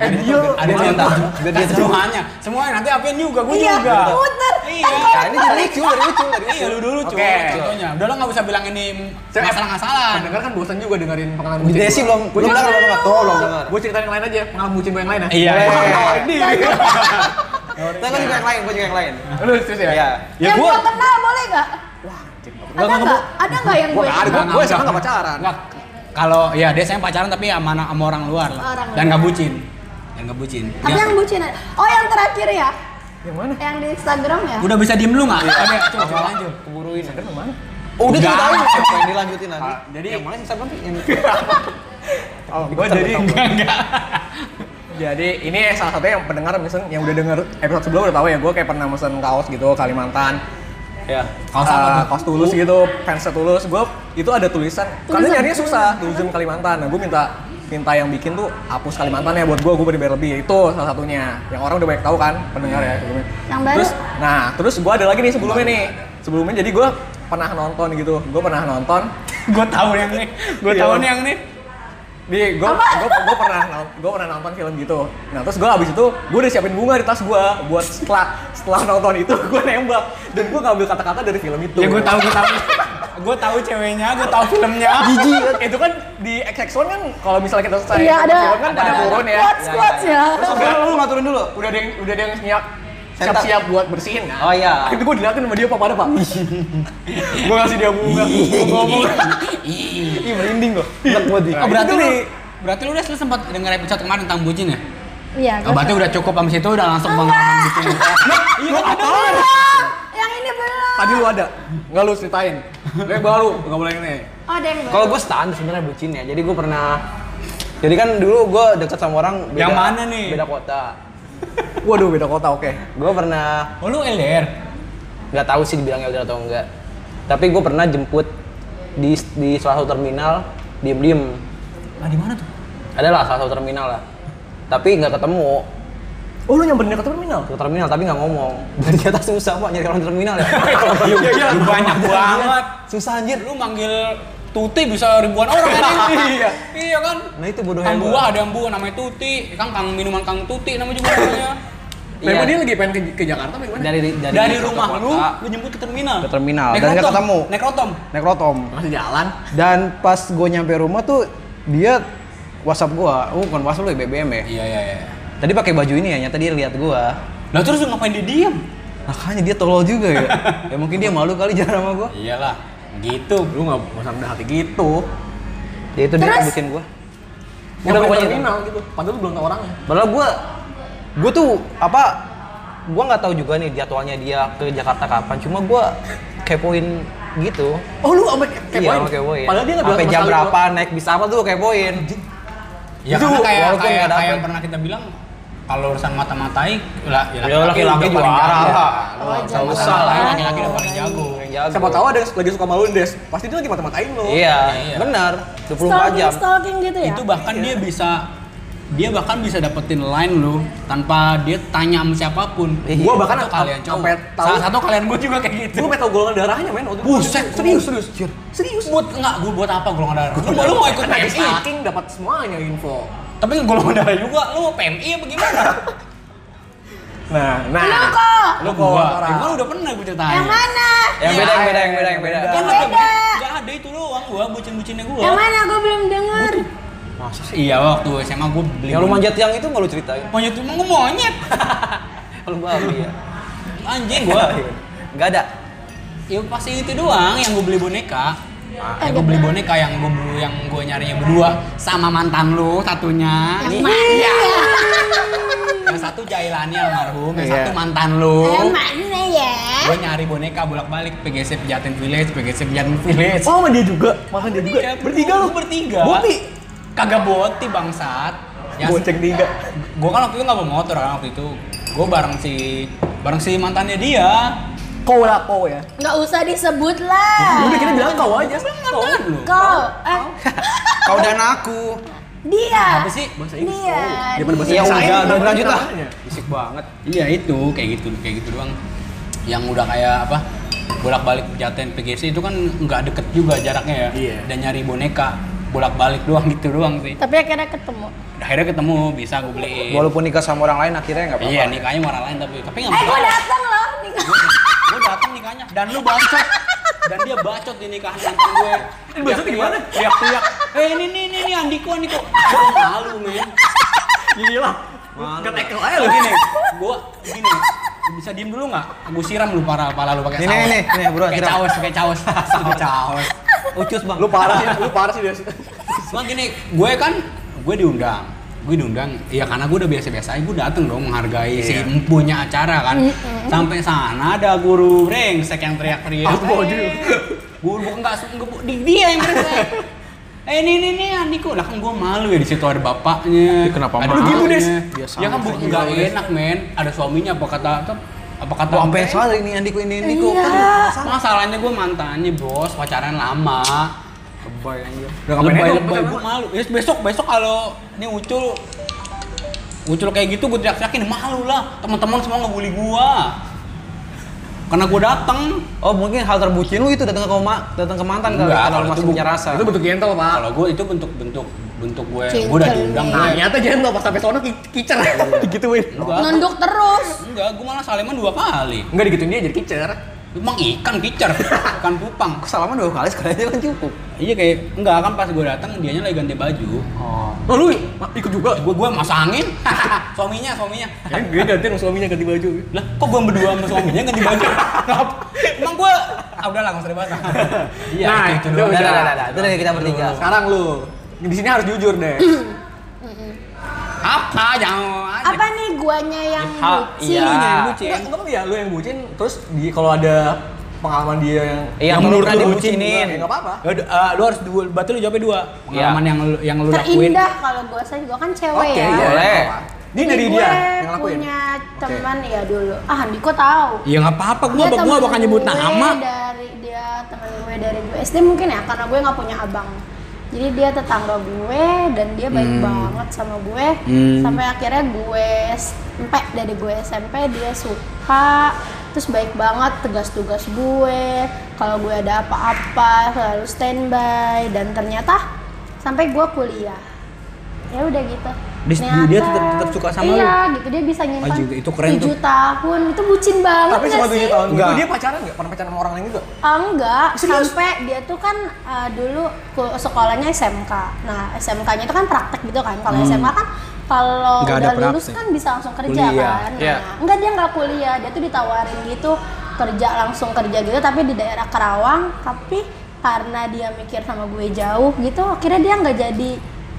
Eh, dia. ada contoh ada semuanya semuanya nanti apain juga gue Iya, Kan juga muter. Iya. Nah, ini jadi lucu, jadi lucu. jadi lucu. Iya lu dulu cuy, Oke. contohnya. Udah lo nggak bisa bilang ini Saya- masalah-masalan. Pendengar kan bosan juga dengerin pengalaman Di bucin. Desi gua. belum Gua belum dengar cerita- belum dengar. Tolong dengar. Gua cerita yang lain aja, pengalaman bucin gua yang lain ya. Iya. Wah, [LAUGHS] Ini. Tapi Nah, gua juga yang lain, gua juga yang lain. Lu serius ya? Iya. Ya yang gua gua kenal boleh nggak? Ada nggak? Ada nggak yang gue? Gua nggak ada, gua- gua sama nggak pacaran. Nggak. Kalau ya dia saya pacaran tapi sama, anak- sama orang luar lah. Orang Dan luar. nggak bucin. Dan nggak bucin. Tapi Dia- yang bucin ada. Oh yang terakhir ya? Yang mana? Yang di Instagram ya? Udah bisa diem lu Iya. nggak? Oke, coba coba lanjut. Keburuin. Yang mana? Oh, Udah Enggak. ceritain apa yang dilanjutin lagi. Ah, jadi- yang mana sih Instagram sih? Yang Oh, gua jadi enggak enggak. Jadi ini salah satu yang pendengar misalnya yang udah denger episode sebelum udah tahu ya, gua kayak pernah mesen kaos gitu Kalimantan. Ya. Iya. kaos apa tuh? kaos tulus gitu fansnya tulus gue itu ada tulisan karena nyarinya susah tulism Kalimantan nah gue minta minta yang bikin tuh hapus Kalimantan ya buat gue gue bayar lebih itu salah satunya yang orang udah banyak tahu kan pendengar ya sebelumnya Iya. Yang baru? terus nah terus gue ada lagi nih sebelumnya nih sebelumnya jadi gue pernah nonton gitu gue pernah nonton gue tahu yang nih gue tahu nih yang nih Di, gue gue pernah gue pernah nonton film gitu. Nah terus gue abis itu gue udah siapin bunga di tas gue buat setelah setelah nonton itu [LAUGHS] gue nembak dan gue ngambil kata-kata dari film itu. ya gue tahu gue tahu gue tahu ceweknya gue tahu filmnya Jiji, itu kan di XX1 kan kalau misalnya kita selesai Iya, ada. film kan pada turun ya. Quotes, quotes ya. Terus udah lu ngaturin dulu. Udah ada yang udah ada yang siap siap siap buat bersihin kan. Oh, iya. Itu gue diliatin sama dia apa pada pak. gue ngasih dia bunga. Gue ngomong. Ih merinding Nah, gue. Enak banget oh, berarti lu berarti lu udah sempat denger episode kemarin tentang bucin ya Iya. oh, berarti udah cukup sama situ udah langsung pengalaman bucin Iya ada. Belum, yang ini belum. Tadi lu ada. Enggak lu ceritain. Lu yang baru enggak boleh ini. Oh, ada yang baru. Kalau gue standar sebenarnya bucin ya. Jadi gue pernah jadi kan dulu gue deket sama orang beda, Yang mana nih? beda kota. Waduh beda kota oke. Gue pernah oh lu LDR nggak tahu sih dibilang LDR atau enggak. Tapi gue pernah jemput di di salah satu terminal diem-diem. ah di mana tuh Adalah salah satu terminal lah. Tapi nggak ketemu Oh lu nyamperin dia ke terminal. ke terminal tapi nggak ngomong. [LAUGHS] Dan ternyata susah pak nyari orang di terminal [LAUGHS] ya. Kalau Iya, iya, lu banyak banget. susah anjir. Lu manggil Tuti bisa ribuan orang kan? [LAUGHS] iya. Iya kan? Nah itu bodohnya Kang gua. Buah ada yang Buah namanya Tuti, kan Kang minuman Kang Tuti namanya juga [LAUGHS] namanya. Iya. Memang dia lagi pengen ke, ke Jakarta apa gimana? Dari dari, Dari, kota rumah kota lu, lu jemput ke terminal. Ke terminal, dan nggak rotom, ketemu. Naik rotom. naik rotom. Masih jalan. Dan pas gue nyampe rumah tuh dia WhatsApp gua, oh bukan WhatsApp lu ya, BBM ya. Iya iya iya. Tadi pakai baju ini ya, nyata dia lihat gua. Lah terus lu ngapain dia diam? Makanya dia tolol juga [LAUGHS] ya. ya mungkin dia malu kali jalan sama gua. Iyalah. Gitu. Lu enggak usah rendah hati gitu. Ya itu dia Terus? bikin gua. Udah Udah pokoknya gitu. terminal gitu. Padahal lu belum tahu orangnya. Padahal gue, gue tuh apa? Gue nggak tahu juga nih jadwalnya dia ke Jakarta kapan. Cuma gue kepoin gitu. Oh lu sampai iya, gua kepoin. Padahal dia nggak bilang sampai sama jam sekali berapa naik bis apa tuh gua kepoin. Ya Itu karena walaupun kayak kayak, nggak dapet. kayak yang pernah kita bilang kalau urusan mata-matai, lah ya Ya, laki-laki udah paling juara jago. lah. Lu nggak usah usah lah, laki-laki udah paling jago. gua. Siapa tahu ada yang lagi suka maluin Des. Pasti dia lagi mata-matain lu. Iya, Iya. benar. 24 Stalking, jam. stalking gitu ya. itu bahkan Iya. dia bisa dia bahkan bisa dapetin line lu tanpa dia tanya sama siapapun. Iya. Gua Sampai- cowok. sampai tahu- Salah satu kalian gue juga kayak gitu. Gue metal golongan darahnya men waktu itu. Buset, serius, gua- serius. Serius. buat enggak gue buat apa golongan darah? Lu lu mau ikut Tadi PMI? stalking Nah, dapat semuanya info. Tapi golongan darah juga lu mau PMI apa gimana? Nah, nah. Lu kok? lu gua. darah. Ya, gua udah pernah gue ceritain. Yang mana? Yang beda, yang beda, yang beda, yang beda. Kan Yang ada beda. Gak ada itu doang gua bucin-bucinnya gua. Yang mana? Gue belum denger. Masa sih? Iya waktu SMA gua beli. Yang lu manjat yang itu nggak lu ceritain. Monyet emang gua monyet. Lu babi ya. Anjing Iya. gua. Gak Iya, ada. Ya pasti itu doang yang gue beli boneka. Eh, yang gue beli boneka yang gue yang gue nyarinya berdua sama mantan lu satunya. Yang Ini- mana? ya? Iya. Yang satu jailannya almarhum, yang satu Iya. mantan lu. Yang mana ya? Gue nyari boneka bolak-balik PGC Pejaten Village, PGC Pejaten Village. Oh, sama dia juga. Makan dia juga. Iya, Bertiga lu. bertiga. Boti. Kagak boti bangsat. Ya, Bonceng tiga. gue kan waktu itu nggak bawa motor kan waktu itu. Gue bareng si bareng si mantannya dia. Kau lah kau ya. Nggak usah disebut Iya. lah. Udah kita bilang kau aja. Kau. Mantan lu. Kau, eh, Kau dan aku. dia, Ah. Apa sih? Bahasa Inggris. dia, iya. Oh, Dia pada bahasa Ya Inggris. udah, udah Namanya lanjut lah. namanya. Bisik banget. Iya itu kayak gitu kayak gitu doang. Yang udah kayak apa bolak-balik pejaten PGC itu kan nggak deket juga jaraknya ya. Iya. Dan nyari boneka bolak-balik doang [LAUGHS] gitu doang sih. Tapi akhirnya ketemu. Akhirnya ketemu bisa gue beliin. Walaupun nikah sama orang lain akhirnya nggak apa-apa. iya nikahnya sama orang lain tapi tapi nggak Eh, gue masalah. datang loh. nih. Gue datang nikahnya dan lu bacot dan dia bacot di nikahan mantan gue. Ini bahasa gimana? Teriak-teriak. Eh ini ini ini, ini Andiko Andiko. Gue malu men. Gila. Gak Iya, tackle aja lu gini. gini, gua gini. Bisa diem dulu nggak? Gue siram lu para pala lu pakai Nih, saus. nih, nih, nih, buruan, Pakai siram. caos, pakai caos. Pakai caos. Ucus bang. Lu parah sih, lu parah sih dia. Cuma gini, gue kan gue diundang. Gue diundang, ya karena gue udah biasa-biasa aja, gue dateng dong menghargai si Iya. empunya acara kan. Sampai sana ada guru brengsek yang teriak-teriak. Eh, Guru bukan enggak, di dia yang brengsek. Eh ini ini ini Andiko, lah kan gue malu ya di situ ada Ya, bapaknya. kenapa ada malu? ibunya. Des. Ya kan bukan enggak enak men, ada suaminya apa kata apa kata Wah, sampai yang salah ini Andiku ini Andiku. Iya. Masalahnya gue mantannya bos, pacaran lama. Lebay anjir. Udah ngapain aja, lebay, pacaran gue malu. Ya, besok besok kalau ini ucul ucul kayak gitu gue teriak-teriakin malu lah. Teman-teman semua ngebully gua. Karena gue dateng. Oh mungkin hal terbucin lu itu datang ke koma, datang ke mantan kali Enggak, karena lu kalau masih itu bu- punya rasa. Itu bentuk gentle, Pak. Kalau gue itu bentuk-bentuk bentuk gue. Gue udah Gentle diundang. nih. Nah, nyata gentle pas sampai sono ki- kicer. Digituin. Enggak, nunduk terus enggak. Gue malah saliman dua kali. Enggak digituin dia jadi kicer. Emang ikan kicer, ikan kupang. Salaman dua kali sekali aja kan cukup. Iya kayak enggak kan pas gue datang dianya lagi ganti baju. Oh. Oh, lu ikut juga. Gue gue masangin. [LAUGHS] suaminya, suaminya. Ya, gue ganti sama suaminya ganti baju. Lah, kok gue berdua sama suaminya ganti baju? Ngap- Emang gue ah, udah lah nggak usah dibahas. [LAUGHS] Iya, Nah, gitu itu, itu doang. Udah, udah, udah, udah. udah, itu dari kita bertiga. Sekarang lu di sini harus jujur deh. Apa? Jangan. apa nih guanya yang Ha, bucin iya. Yang bucin. Enggak enggak apa-apa ya lu yang bucin terus di kalau ada pengalaman dia yang Iya, yang kalau pernah lu dibucinin. bucin, ya, Enggak apa-apa. Lu, eh, lu harus dua, berarti lu jawabnya dua. Iya. Pengalaman yang lu, yang lu lakuin. terindah kalau gue saya juga kan cewek Oke, ya iya. Boleh. enggak apa-apa. Ini dari gue dia yang lakuin. punya teman ya dulu ah Andiko tahu Ya nggak apa-apa, gue Dia gua Iya, temen bakal nyebut gue nama. dari dia teman gue dari gue SD mungkin ya karena gue nggak punya abang jadi dia tetangga gue dan dia baik banget sama gue Hmm. sampai akhirnya gue SMP dari gue SMP dia suka terus baik banget tugas-tugas gue kalau gue ada apa-apa selalu standby dan ternyata sampai gue kuliah ya udah gitu Dia- Ternyata- dia tetap- tetap suka sama iya, lu? gitu dia bisa nyimpan juga, itu keren 7 tahun itu bucin banget Tapi nggak sama sih? Ah, 7 tahun Enggak. itu dia pacaran enggak? Pernah pacaran sama orang lain juga? Enggak, sampai dia tuh kan uh, dulu ku- sekolahnya SMK. Nah, SMK-nya itu kan praktek gitu kan. Kalau SMA kan kalau Hmm. Nggak ada udah lulus praktek. kan bisa langsung kerja Kuliah. kan. Nah, Iya. enggak dia nggak kuliah, dia tuh ditawarin gitu kerja langsung kerja gitu tapi di daerah Karawang, tapi karena dia mikir sama gue jauh gitu, akhirnya dia nggak jadi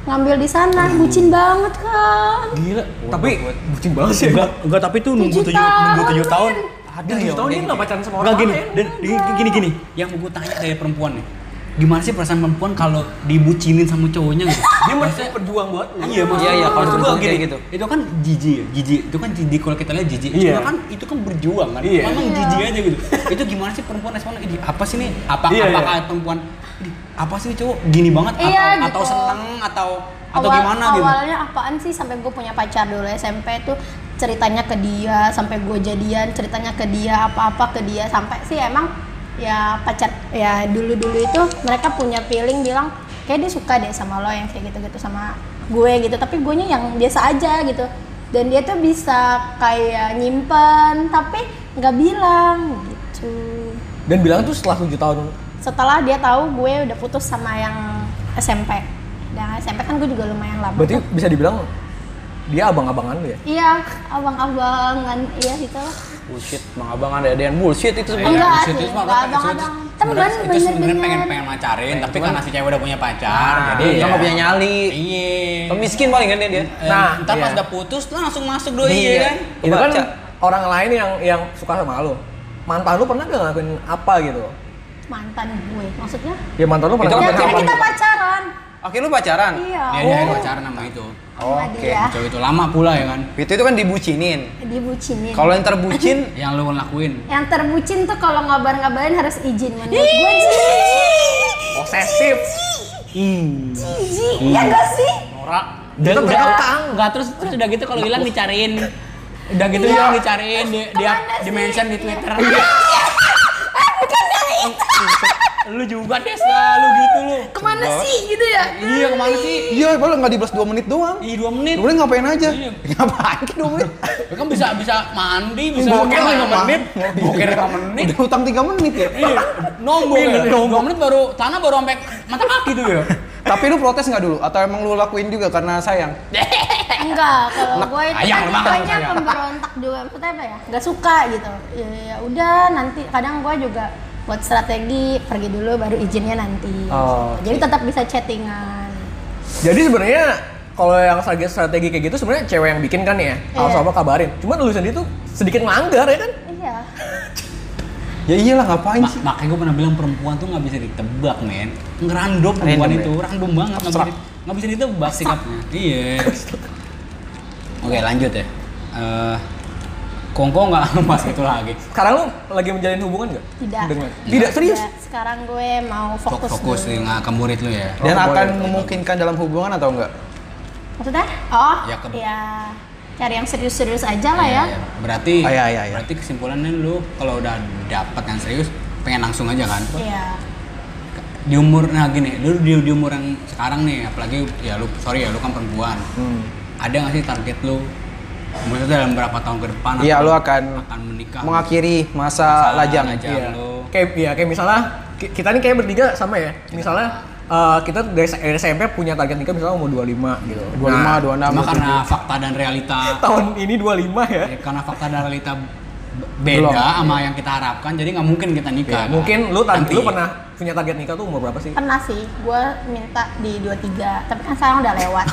ngambil di sana. Hmm. Bucin banget kan. Gila, Tapi bucin banget sih. enggak, enggak tapi tuh Gitu, nunggu Tujuh tujuh nunggu tahun, tujuh tahun. Ada ya. tahun dia gitu. enggak pacaran sama orang Enggak gini, lain. dan gini- gini gini. Yang gue tanya kayak perempuan nih. Gimana sih perasaan perempuan kalau dibucinin sama cowoknya [LAUGHS] gitu? Dia merasa berjuang buat lu. Iya, maksud Iya, iya, kalau maksud perempuan gua kayak gini, gitu. Itu kan jijik, ya, jijik. Itu kan jijik kalau kita lihat jijik. Iya. Cuma kan itu kan berjuang kan. Iya. Memang jijik aja gitu. itu gimana sih perempuan respon? Ini apa sih nih? Apa Iya, iya. apakah perempuan "Ini apa sih nih cowok gini banget atau, Iya, atau gitu. seneng atau atau gimana gitu. awalnya apaan sih sampai gue punya pacar dulu SMP tuh ceritanya ke dia sampai gue jadian ceritanya ke dia apa-apa ke dia sampai sih emang ya pacar ya dulu-dulu itu mereka punya feeling bilang kayak dia suka deh sama lo yang kayak gitu-gitu sama gue gitu tapi gue nya yang biasa aja gitu dan dia tuh bisa kayak nyimpen tapi nggak bilang gitu Dan bilang tuh setelah 7 tahun setelah dia tahu gue udah putus sama yang SMP dan SMP kan gue juga lumayan lama berarti bisa dibilang dia abang-abangan lu ya. Iya, abang-abangan, iya gitu lah. Bullshit, bang abang ada adean bullshit itu sebenarnya. Enggak Terus sih, Iya, itu enggak sebenarnya- abang-abang. itu Temen sebenarnya- itu sebenarnya pengen bener-bener. pengen pacarin, tapi karena si cewek udah punya pacar, jadi Nah, dia ya. nggak punya nyali. Iya. Miskin paling kan dia. dia. Nah, Nah, ntar iya. pas udah putus langsung masuk doi ya kan. Itu kan Kebaca. orang lain yang yang suka sama lu. Mantan lu pernah gak ngelakuin apa gitu? Mantan gue, maksudnya? Ya mantan lu pernah Itu kan ngelakuin Ya, mantan karena apa? kita pacaran. Oke lu pacaran. Iya. Dia dia pacaran sama itu. Sama dia. Cewek itu lama pula ya kan. Itu itu kan dibucinin. Dibucinin. Kalau yang terbucin Yang lu lakuin. Yang terbucin tuh kalau ngabar-ngabarin harus izin menurut gue. Ji. Posesif. Ji, ya enggak sih? Norak. Dan Tetep udah berkekang. enggak terus terus udah gitu kalau hilang dicariin. Udah gitu Iya. hilang dicariin di di, Kemana di sih? mention di Twitter. Bukan dari itu. [LAUGHS] lu juga deh selalu gitu lu. Kemana sih gitu ya? [LAUGHS] Iya kemana sih? Iya, baru nggak dibalas 2 menit doang. Ih, dua menit. Lu ngapain aja? Iya. [LAUGHS] Ngapain ke 2 menit? Lu kan bisa bisa mandi, bisa Boker boker lima 5 menit, boker 5 menit. Udah utang 3 menit ya? Iya, nombok ya. Dua menit baru tanah baru sampai mata kaki tuh ya. Tapi lu protes nggak dulu? Atau emang lu lakuin juga karena sayang? Enggak, kalau gue itu Ayang kan lu banget, pokoknya ayang. pemberontak juga. Maksudnya apa ya? Enggak suka gitu. Ya, ya udah nanti kadang gue juga buat strategi pergi dulu baru izinnya nanti. Oh, Jadi tetap bisa chattingan. Jadi sebenarnya kalau yang strategi strategi kayak gitu sebenarnya cewek yang bikin kan ya. Harus Iya. apa kabarin. Cuman lu sendiri tuh sedikit melanggar ya kan? Iya. Ya iyalah ngapain sih? Ma- makanya gue pernah bilang perempuan tuh nggak bisa ditebak men ngerandom perempuan Random, ya? itu random banget nggak bisa, Abstrak. di- nggak bisa ditebak sikapnya iya oke lanjut ya Eh, kongko nggak [LAUGHS] mas itu lagi Sekarang lu lagi menjalin hubungan gak? Tidak. Dengan? Tidak serius. Enggak, sekarang gue mau fokus fokus. fokus dulu. nih nggak ke murid lu ya Dan Oh, akan boleh. memungkinkan dalam hubungan atau enggak? Maksudnya? Oh, Ya, ya, ke- cari yang serius-serius aja lah ya. Iya, Berarti Ah, iya, iya, iya. berarti kesimpulannya lu kalau udah dapat yang serius pengen langsung aja kan. Iya. Di umur nah gini, lu di, di umur yang sekarang nih apalagi ya lu sorry ya lu kan perempuan. Hmm. Ada nggak sih target lu maksudnya dalam berapa tahun ke depan Iya, atau lu akan- akan menikah mengakhiri masa, lajang. Iya. lu. Kayak ya kayak misalnya ki- kita nih kayak bertiga sama ya. Misalnya eh, kita dari S- dari SMP punya target nikah misalnya umur 25 gitu. 25, 26, Cuma karena fakta dan realita tahun ini 25 ya. ya, karena fakta dan realita b- beda sama yang kita harapkan jadi nggak mungkin kita nikah kan? Nah, Iya, Mungkin lu tadi Nanti. lu pernah [LAUGHS] punya target nikah tuh umur berapa [LAUGHS] sih? Pernah sih, gue minta di 23, tapi kan sekarang udah [LAUGHS] lewat.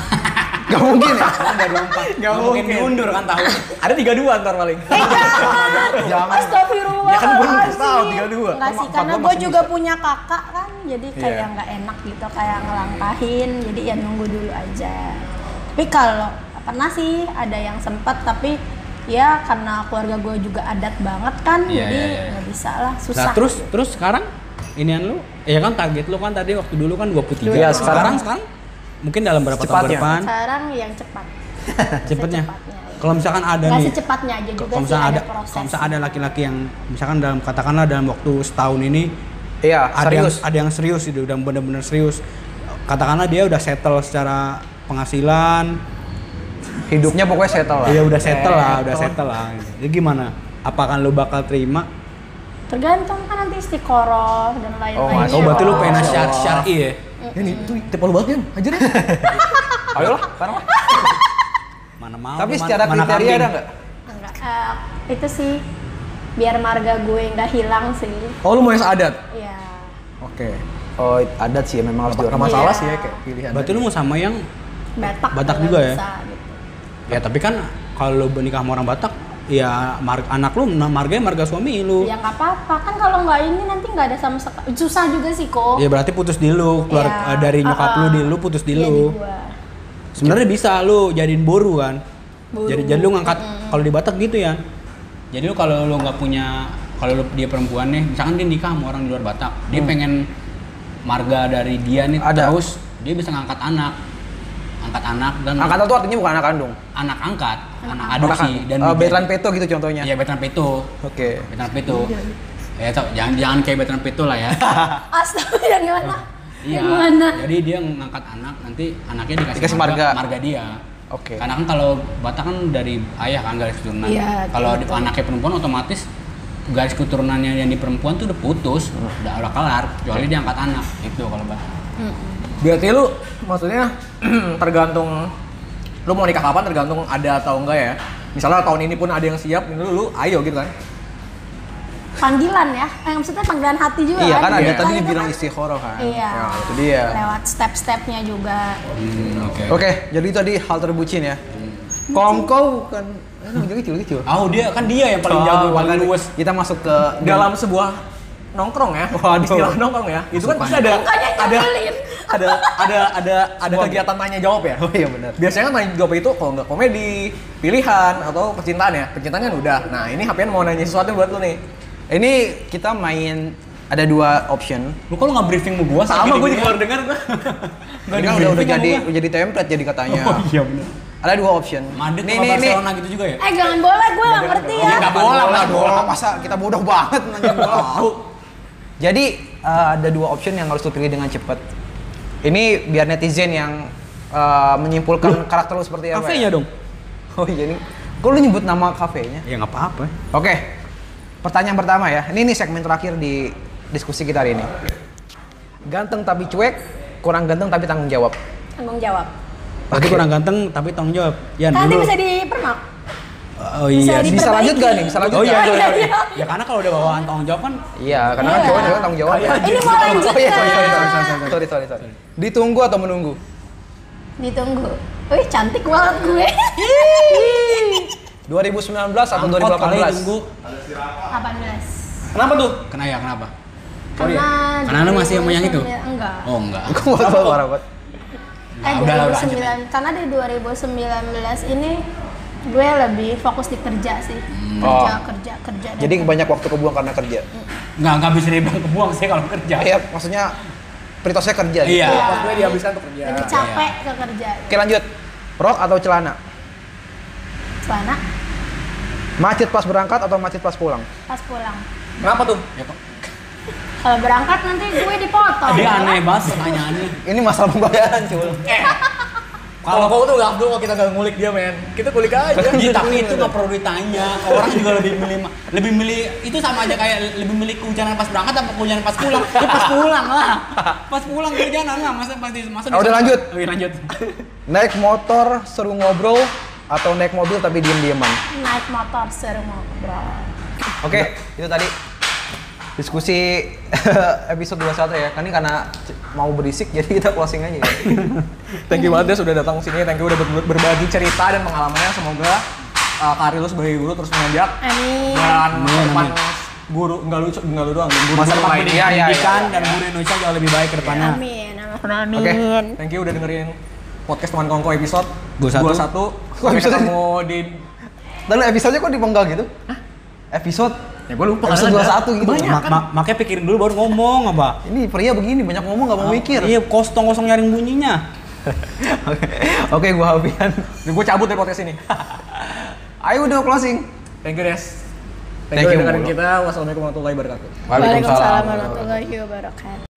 Gak mungkin ya? nggak mungkin diundur kan tahu Ada 32 ntar paling. Eh jangan, astagfirullah. Ya kan gua nggak tahu, 32. Nggak sih, Sama- sama karena gue masih juga bisa. punya kakak kan, jadi kayak Iya. nggak enak gitu, kayak ngelangkahin, jadi ya nunggu dulu aja. Tapi kalau pernah sih ada yang sempat, tapi ya karena keluarga gue juga adat banget kan, Iya, jadi iya, iya. nggak bisa lah, susah. nah terus terus sekarang inian lu ya kan target lu kan tadi waktu dulu kan 23 Iya, Nah, sekarang- sekarang sekarang mungkin dalam berapa tahun ke Secepatnya. depan Sekarang yang cepat. cepetnya Secepatnya. kalau misalkan ada Nggak nih secepatnya aja juga kalau sih misalkan ada, ada proses. kalau misalkan ada laki-laki yang misalkan dalam katakanlah dalam waktu setahun ini Iya, ada serius. yang ada yang serius itu udah bener-bener serius katakanlah dia udah settle secara penghasilan Hidupnya pokoknya settle lah. Eh, oh. dia Iya, udah settle lah udah settle lah gitu. jadi gimana apakah lu bakal terima Tergantung kan nanti istiqoroh dan Oh, lain-lain. ya. Masya oh berarti lu Allah. pengen syar syar'i ya Ya nih, itu tepal banget kan? [LAUGHS] Anjir. Ayo lah, sekarang lah. mana mau Tapi mana- secara mana kriteria kambing. ada nggak? Enggak. Eh, itu sih biar marga gue nggak hilang sih. Oh lu mau yang seadat? Iya. Oke. Oh, adat sih memang harus Gak dihormati. masalah Iya. sih ya kayak pilihan. berarti lu mau sama yang Batak. Batak juga ya? bisa, gitu. ya tapi kan kalau lu bernikah sama orang Batak ya mar- anak lu nah, marganya marga suami lu Ya nggak apa-apa kan kalau nggak ini nanti nggak ada sama sekali. Susah juga sih kok. ya berarti putus di lu keluar Iya. eh, dari nyokap lu Ah-ah. di lu putus di Iya, lu gua. sebenarnya bisa lu jadiin boru kan Boru. jadi jadi lu ngangkat Hmm. kalau di Batak gitu ya Jadi lu kalau lu nggak punya kalau lu dia perempuan nih, misalkan dia nikah sama orang di luar Batak, Hmm. dia pengen marga dari dia nih Ada. terus dia bisa ngangkat anak. Angkat anak dan Angkatan tuh artinya bukan anak kandung. anak angkat, anak Anak adopsi Oh, kandung. dan Eh, veteran menjadi- peto gitu contohnya. Iya, veteran peto. Oke. Veteran peto. Ya, tau, jangan jangan kayak veteran peto lah ya. [LAUGHS] Ah. Astaga yang mana? Iya. Yang mana? Jadi dia ngangkat anak, nanti anaknya dikasih, Dikasih marga. marga dia. Oke. Karena kan kalau Batak kan dari ayah kan garis keturunan. Iya, kalau di- betul. anaknya perempuan otomatis garis keturunannya yang di perempuan tuh udah putus, udah udah kelar, kecuali dia angkat anak gitu kalau Batak. Berarti lu maksudnya [CLEARS THROAT] tergantung lu mau nikah kapan tergantung ada atau enggak ya. Misalnya tahun ini pun ada yang siap, ini lu, lu ayo gitu kan. Hmm. Panggilan ya? Eh, maksudnya panggilan hati juga Iya kan ada Iya. tadi Kan itu bilang kan- istiqoroh kan. Iya. Ya, itu dia. Lewat step-stepnya juga. Hmm, oke. Oke, jadi tadi hal terbucin ya. kan, Kongko bukan kecil-kecil. Oh, dia kan dia yang paling jago, paling luwes. Oh, Kita masuk ke Dalam sebuah nongkrong ya, Waduh. istilah nongkrong ya. Itu kan pasti ada Bukannya ada nyebelin. ada ada ada ada kegiatan tanya jawab ya. [LAUGHS] Oh iya benar. Biasanya kan tanya jawab itu kalau nggak komedi, pilihan atau percintaan ya. Percintaan kan udah. Nah, ini Hapian mau nanya sesuatu buat lu nih. Ini kita main ada dua option. Lu kalau nggak briefing sama gua Sama gue juga gua baru dengar. [LAUGHS] Ini kan udah, udah jadi udah jadi template jadi katanya. Oh iya benar. Ada dua option. Madrid nih sama nih Iya, nih. Barcelona gitu juga ya? Eh jangan boleh, gue nggak ngerti ya. Iya. Bola lah bola. Masa kita bodoh banget nanya bola. Jadi eh, ada dua option yang harus lu pilih dengan cepat. Ini biar netizen yang eh, menyimpulkan karakter lu seperti apa. kafenya ya. dong Oh iya nih. Kok lu nyebut nama kafenya? ya nggak apa-apa Oke, pertanyaan pertama ya. Ini nih segmen terakhir di diskusi kita hari ini. Ganteng tapi cuek, kurang ganteng tapi tanggung jawab. Tanggung jawab. berarti kurang ganteng tapi tanggung jawab ya Nanti dulu bisa dipermak. oh Bisa iya bisa Diperbaiki. lanjut gak nih? Bisa lanjut oh iya nggak? iya, iya, [LAUGHS] Iya. ya karena kalau udah bawaan tanggung jawab kan Iya, karena kan Iya. cowok juga tanggung jawab ya. gitu. Ini mau lanjut Oh iya, sorry, sorry, sorry, kan? sorry, sorry. sorry, sorry, sorry. Ditunggu atau menunggu? Ditunggu. Wih cantik banget gue. 2019 atau angkot kali 2018? tunggu 18. Kenapa tuh? Kenapa ya? Kenapa? Karena Karena lu masih sama yang itu? Enggak. Oh enggak. Aku mau tahu parah banget. Eh udah lah, udah, lanjut 2009. Karena di 2019 ini gue lebih fokus di kerja sih. Oh. Kerja, kerja, kerja. dan- Jadi banyak waktu kebuang karena kerja. Enggak, enggak bisa dibilang kebuang sih kalau kerja. Iya, maksudnya pritosnya kerja. gitu. Iya. Iya. Waktunya Iya, dihabiskan untuk kerja. Lebih capek ke kerja. Oke lanjut. Rok atau celana? Silvana Macet pas berangkat atau macet pas pulang? pas pulang. Kenapa tuh? Kalau berangkat nanti gue dipotong. Dia aneh banget pertanyaannya. Eh. Ini masalah pembayaran cuy. Kalau kau tuh nggak kalau kita nggak ngulik dia men, kita kulik [LAUGHS] aja. Ya, tapi itu nggak perlu ditanya. Orang juga lebih milih lebih milih itu sama aja kayak lebih milih kehujanan pas berangkat atau kehujanan pas pulang. Ya pas pulang lah. Pas pulang kehujanan lah. Masa pasti masa. Ah, udah di- lanjut. Oh, iya, lanjut. Naik motor seru ngobrol atau naik mobil tapi diem-dieman? Naik motor seru ngobrol. Oke, itu tadi diskusi [LAUGHS] episode 21 ya. Kan ini karena c- mau berisik [LAUGHS] jadi kita closing aja ya. Thank you banget ya sudah datang sini. Thank you udah ber- berbagi cerita dan pengalamannya. Semoga uh, karir lu sebagai guru terus menanjak Amin. dan masa depan guru nggak lu nggak lu doang, guru, Masa depan lainnya. pendidikan Pendidikan dan guru Indonesia jauh lebih baik ke depannya. Amin. Amin. Oke. Thank you udah dengerin podcast teman kongko episode 21. 21. Kok Sampai episode- ketemu di Dan episode-nya kok dipenggal gitu? Episode ya gue lupa episode 21 gitu. Mak- mak- makanya pikirin dulu baru ngomong apa. Ini pria begini banyak ngomong nggak mau mikir. Iya, kosong kosong nyaring bunyinya. Oke, [LAUGHS] Oke, gua Habian. Gue cabut dari podcast ini. Ayo udah closing. Thank you Des. Thank you, Thank, you udah dengerin Mulu. kita. Wassalamualaikum warahmatullahi wabarakatuh. Waalaikumsalam warahmatullahi wabarakatuh.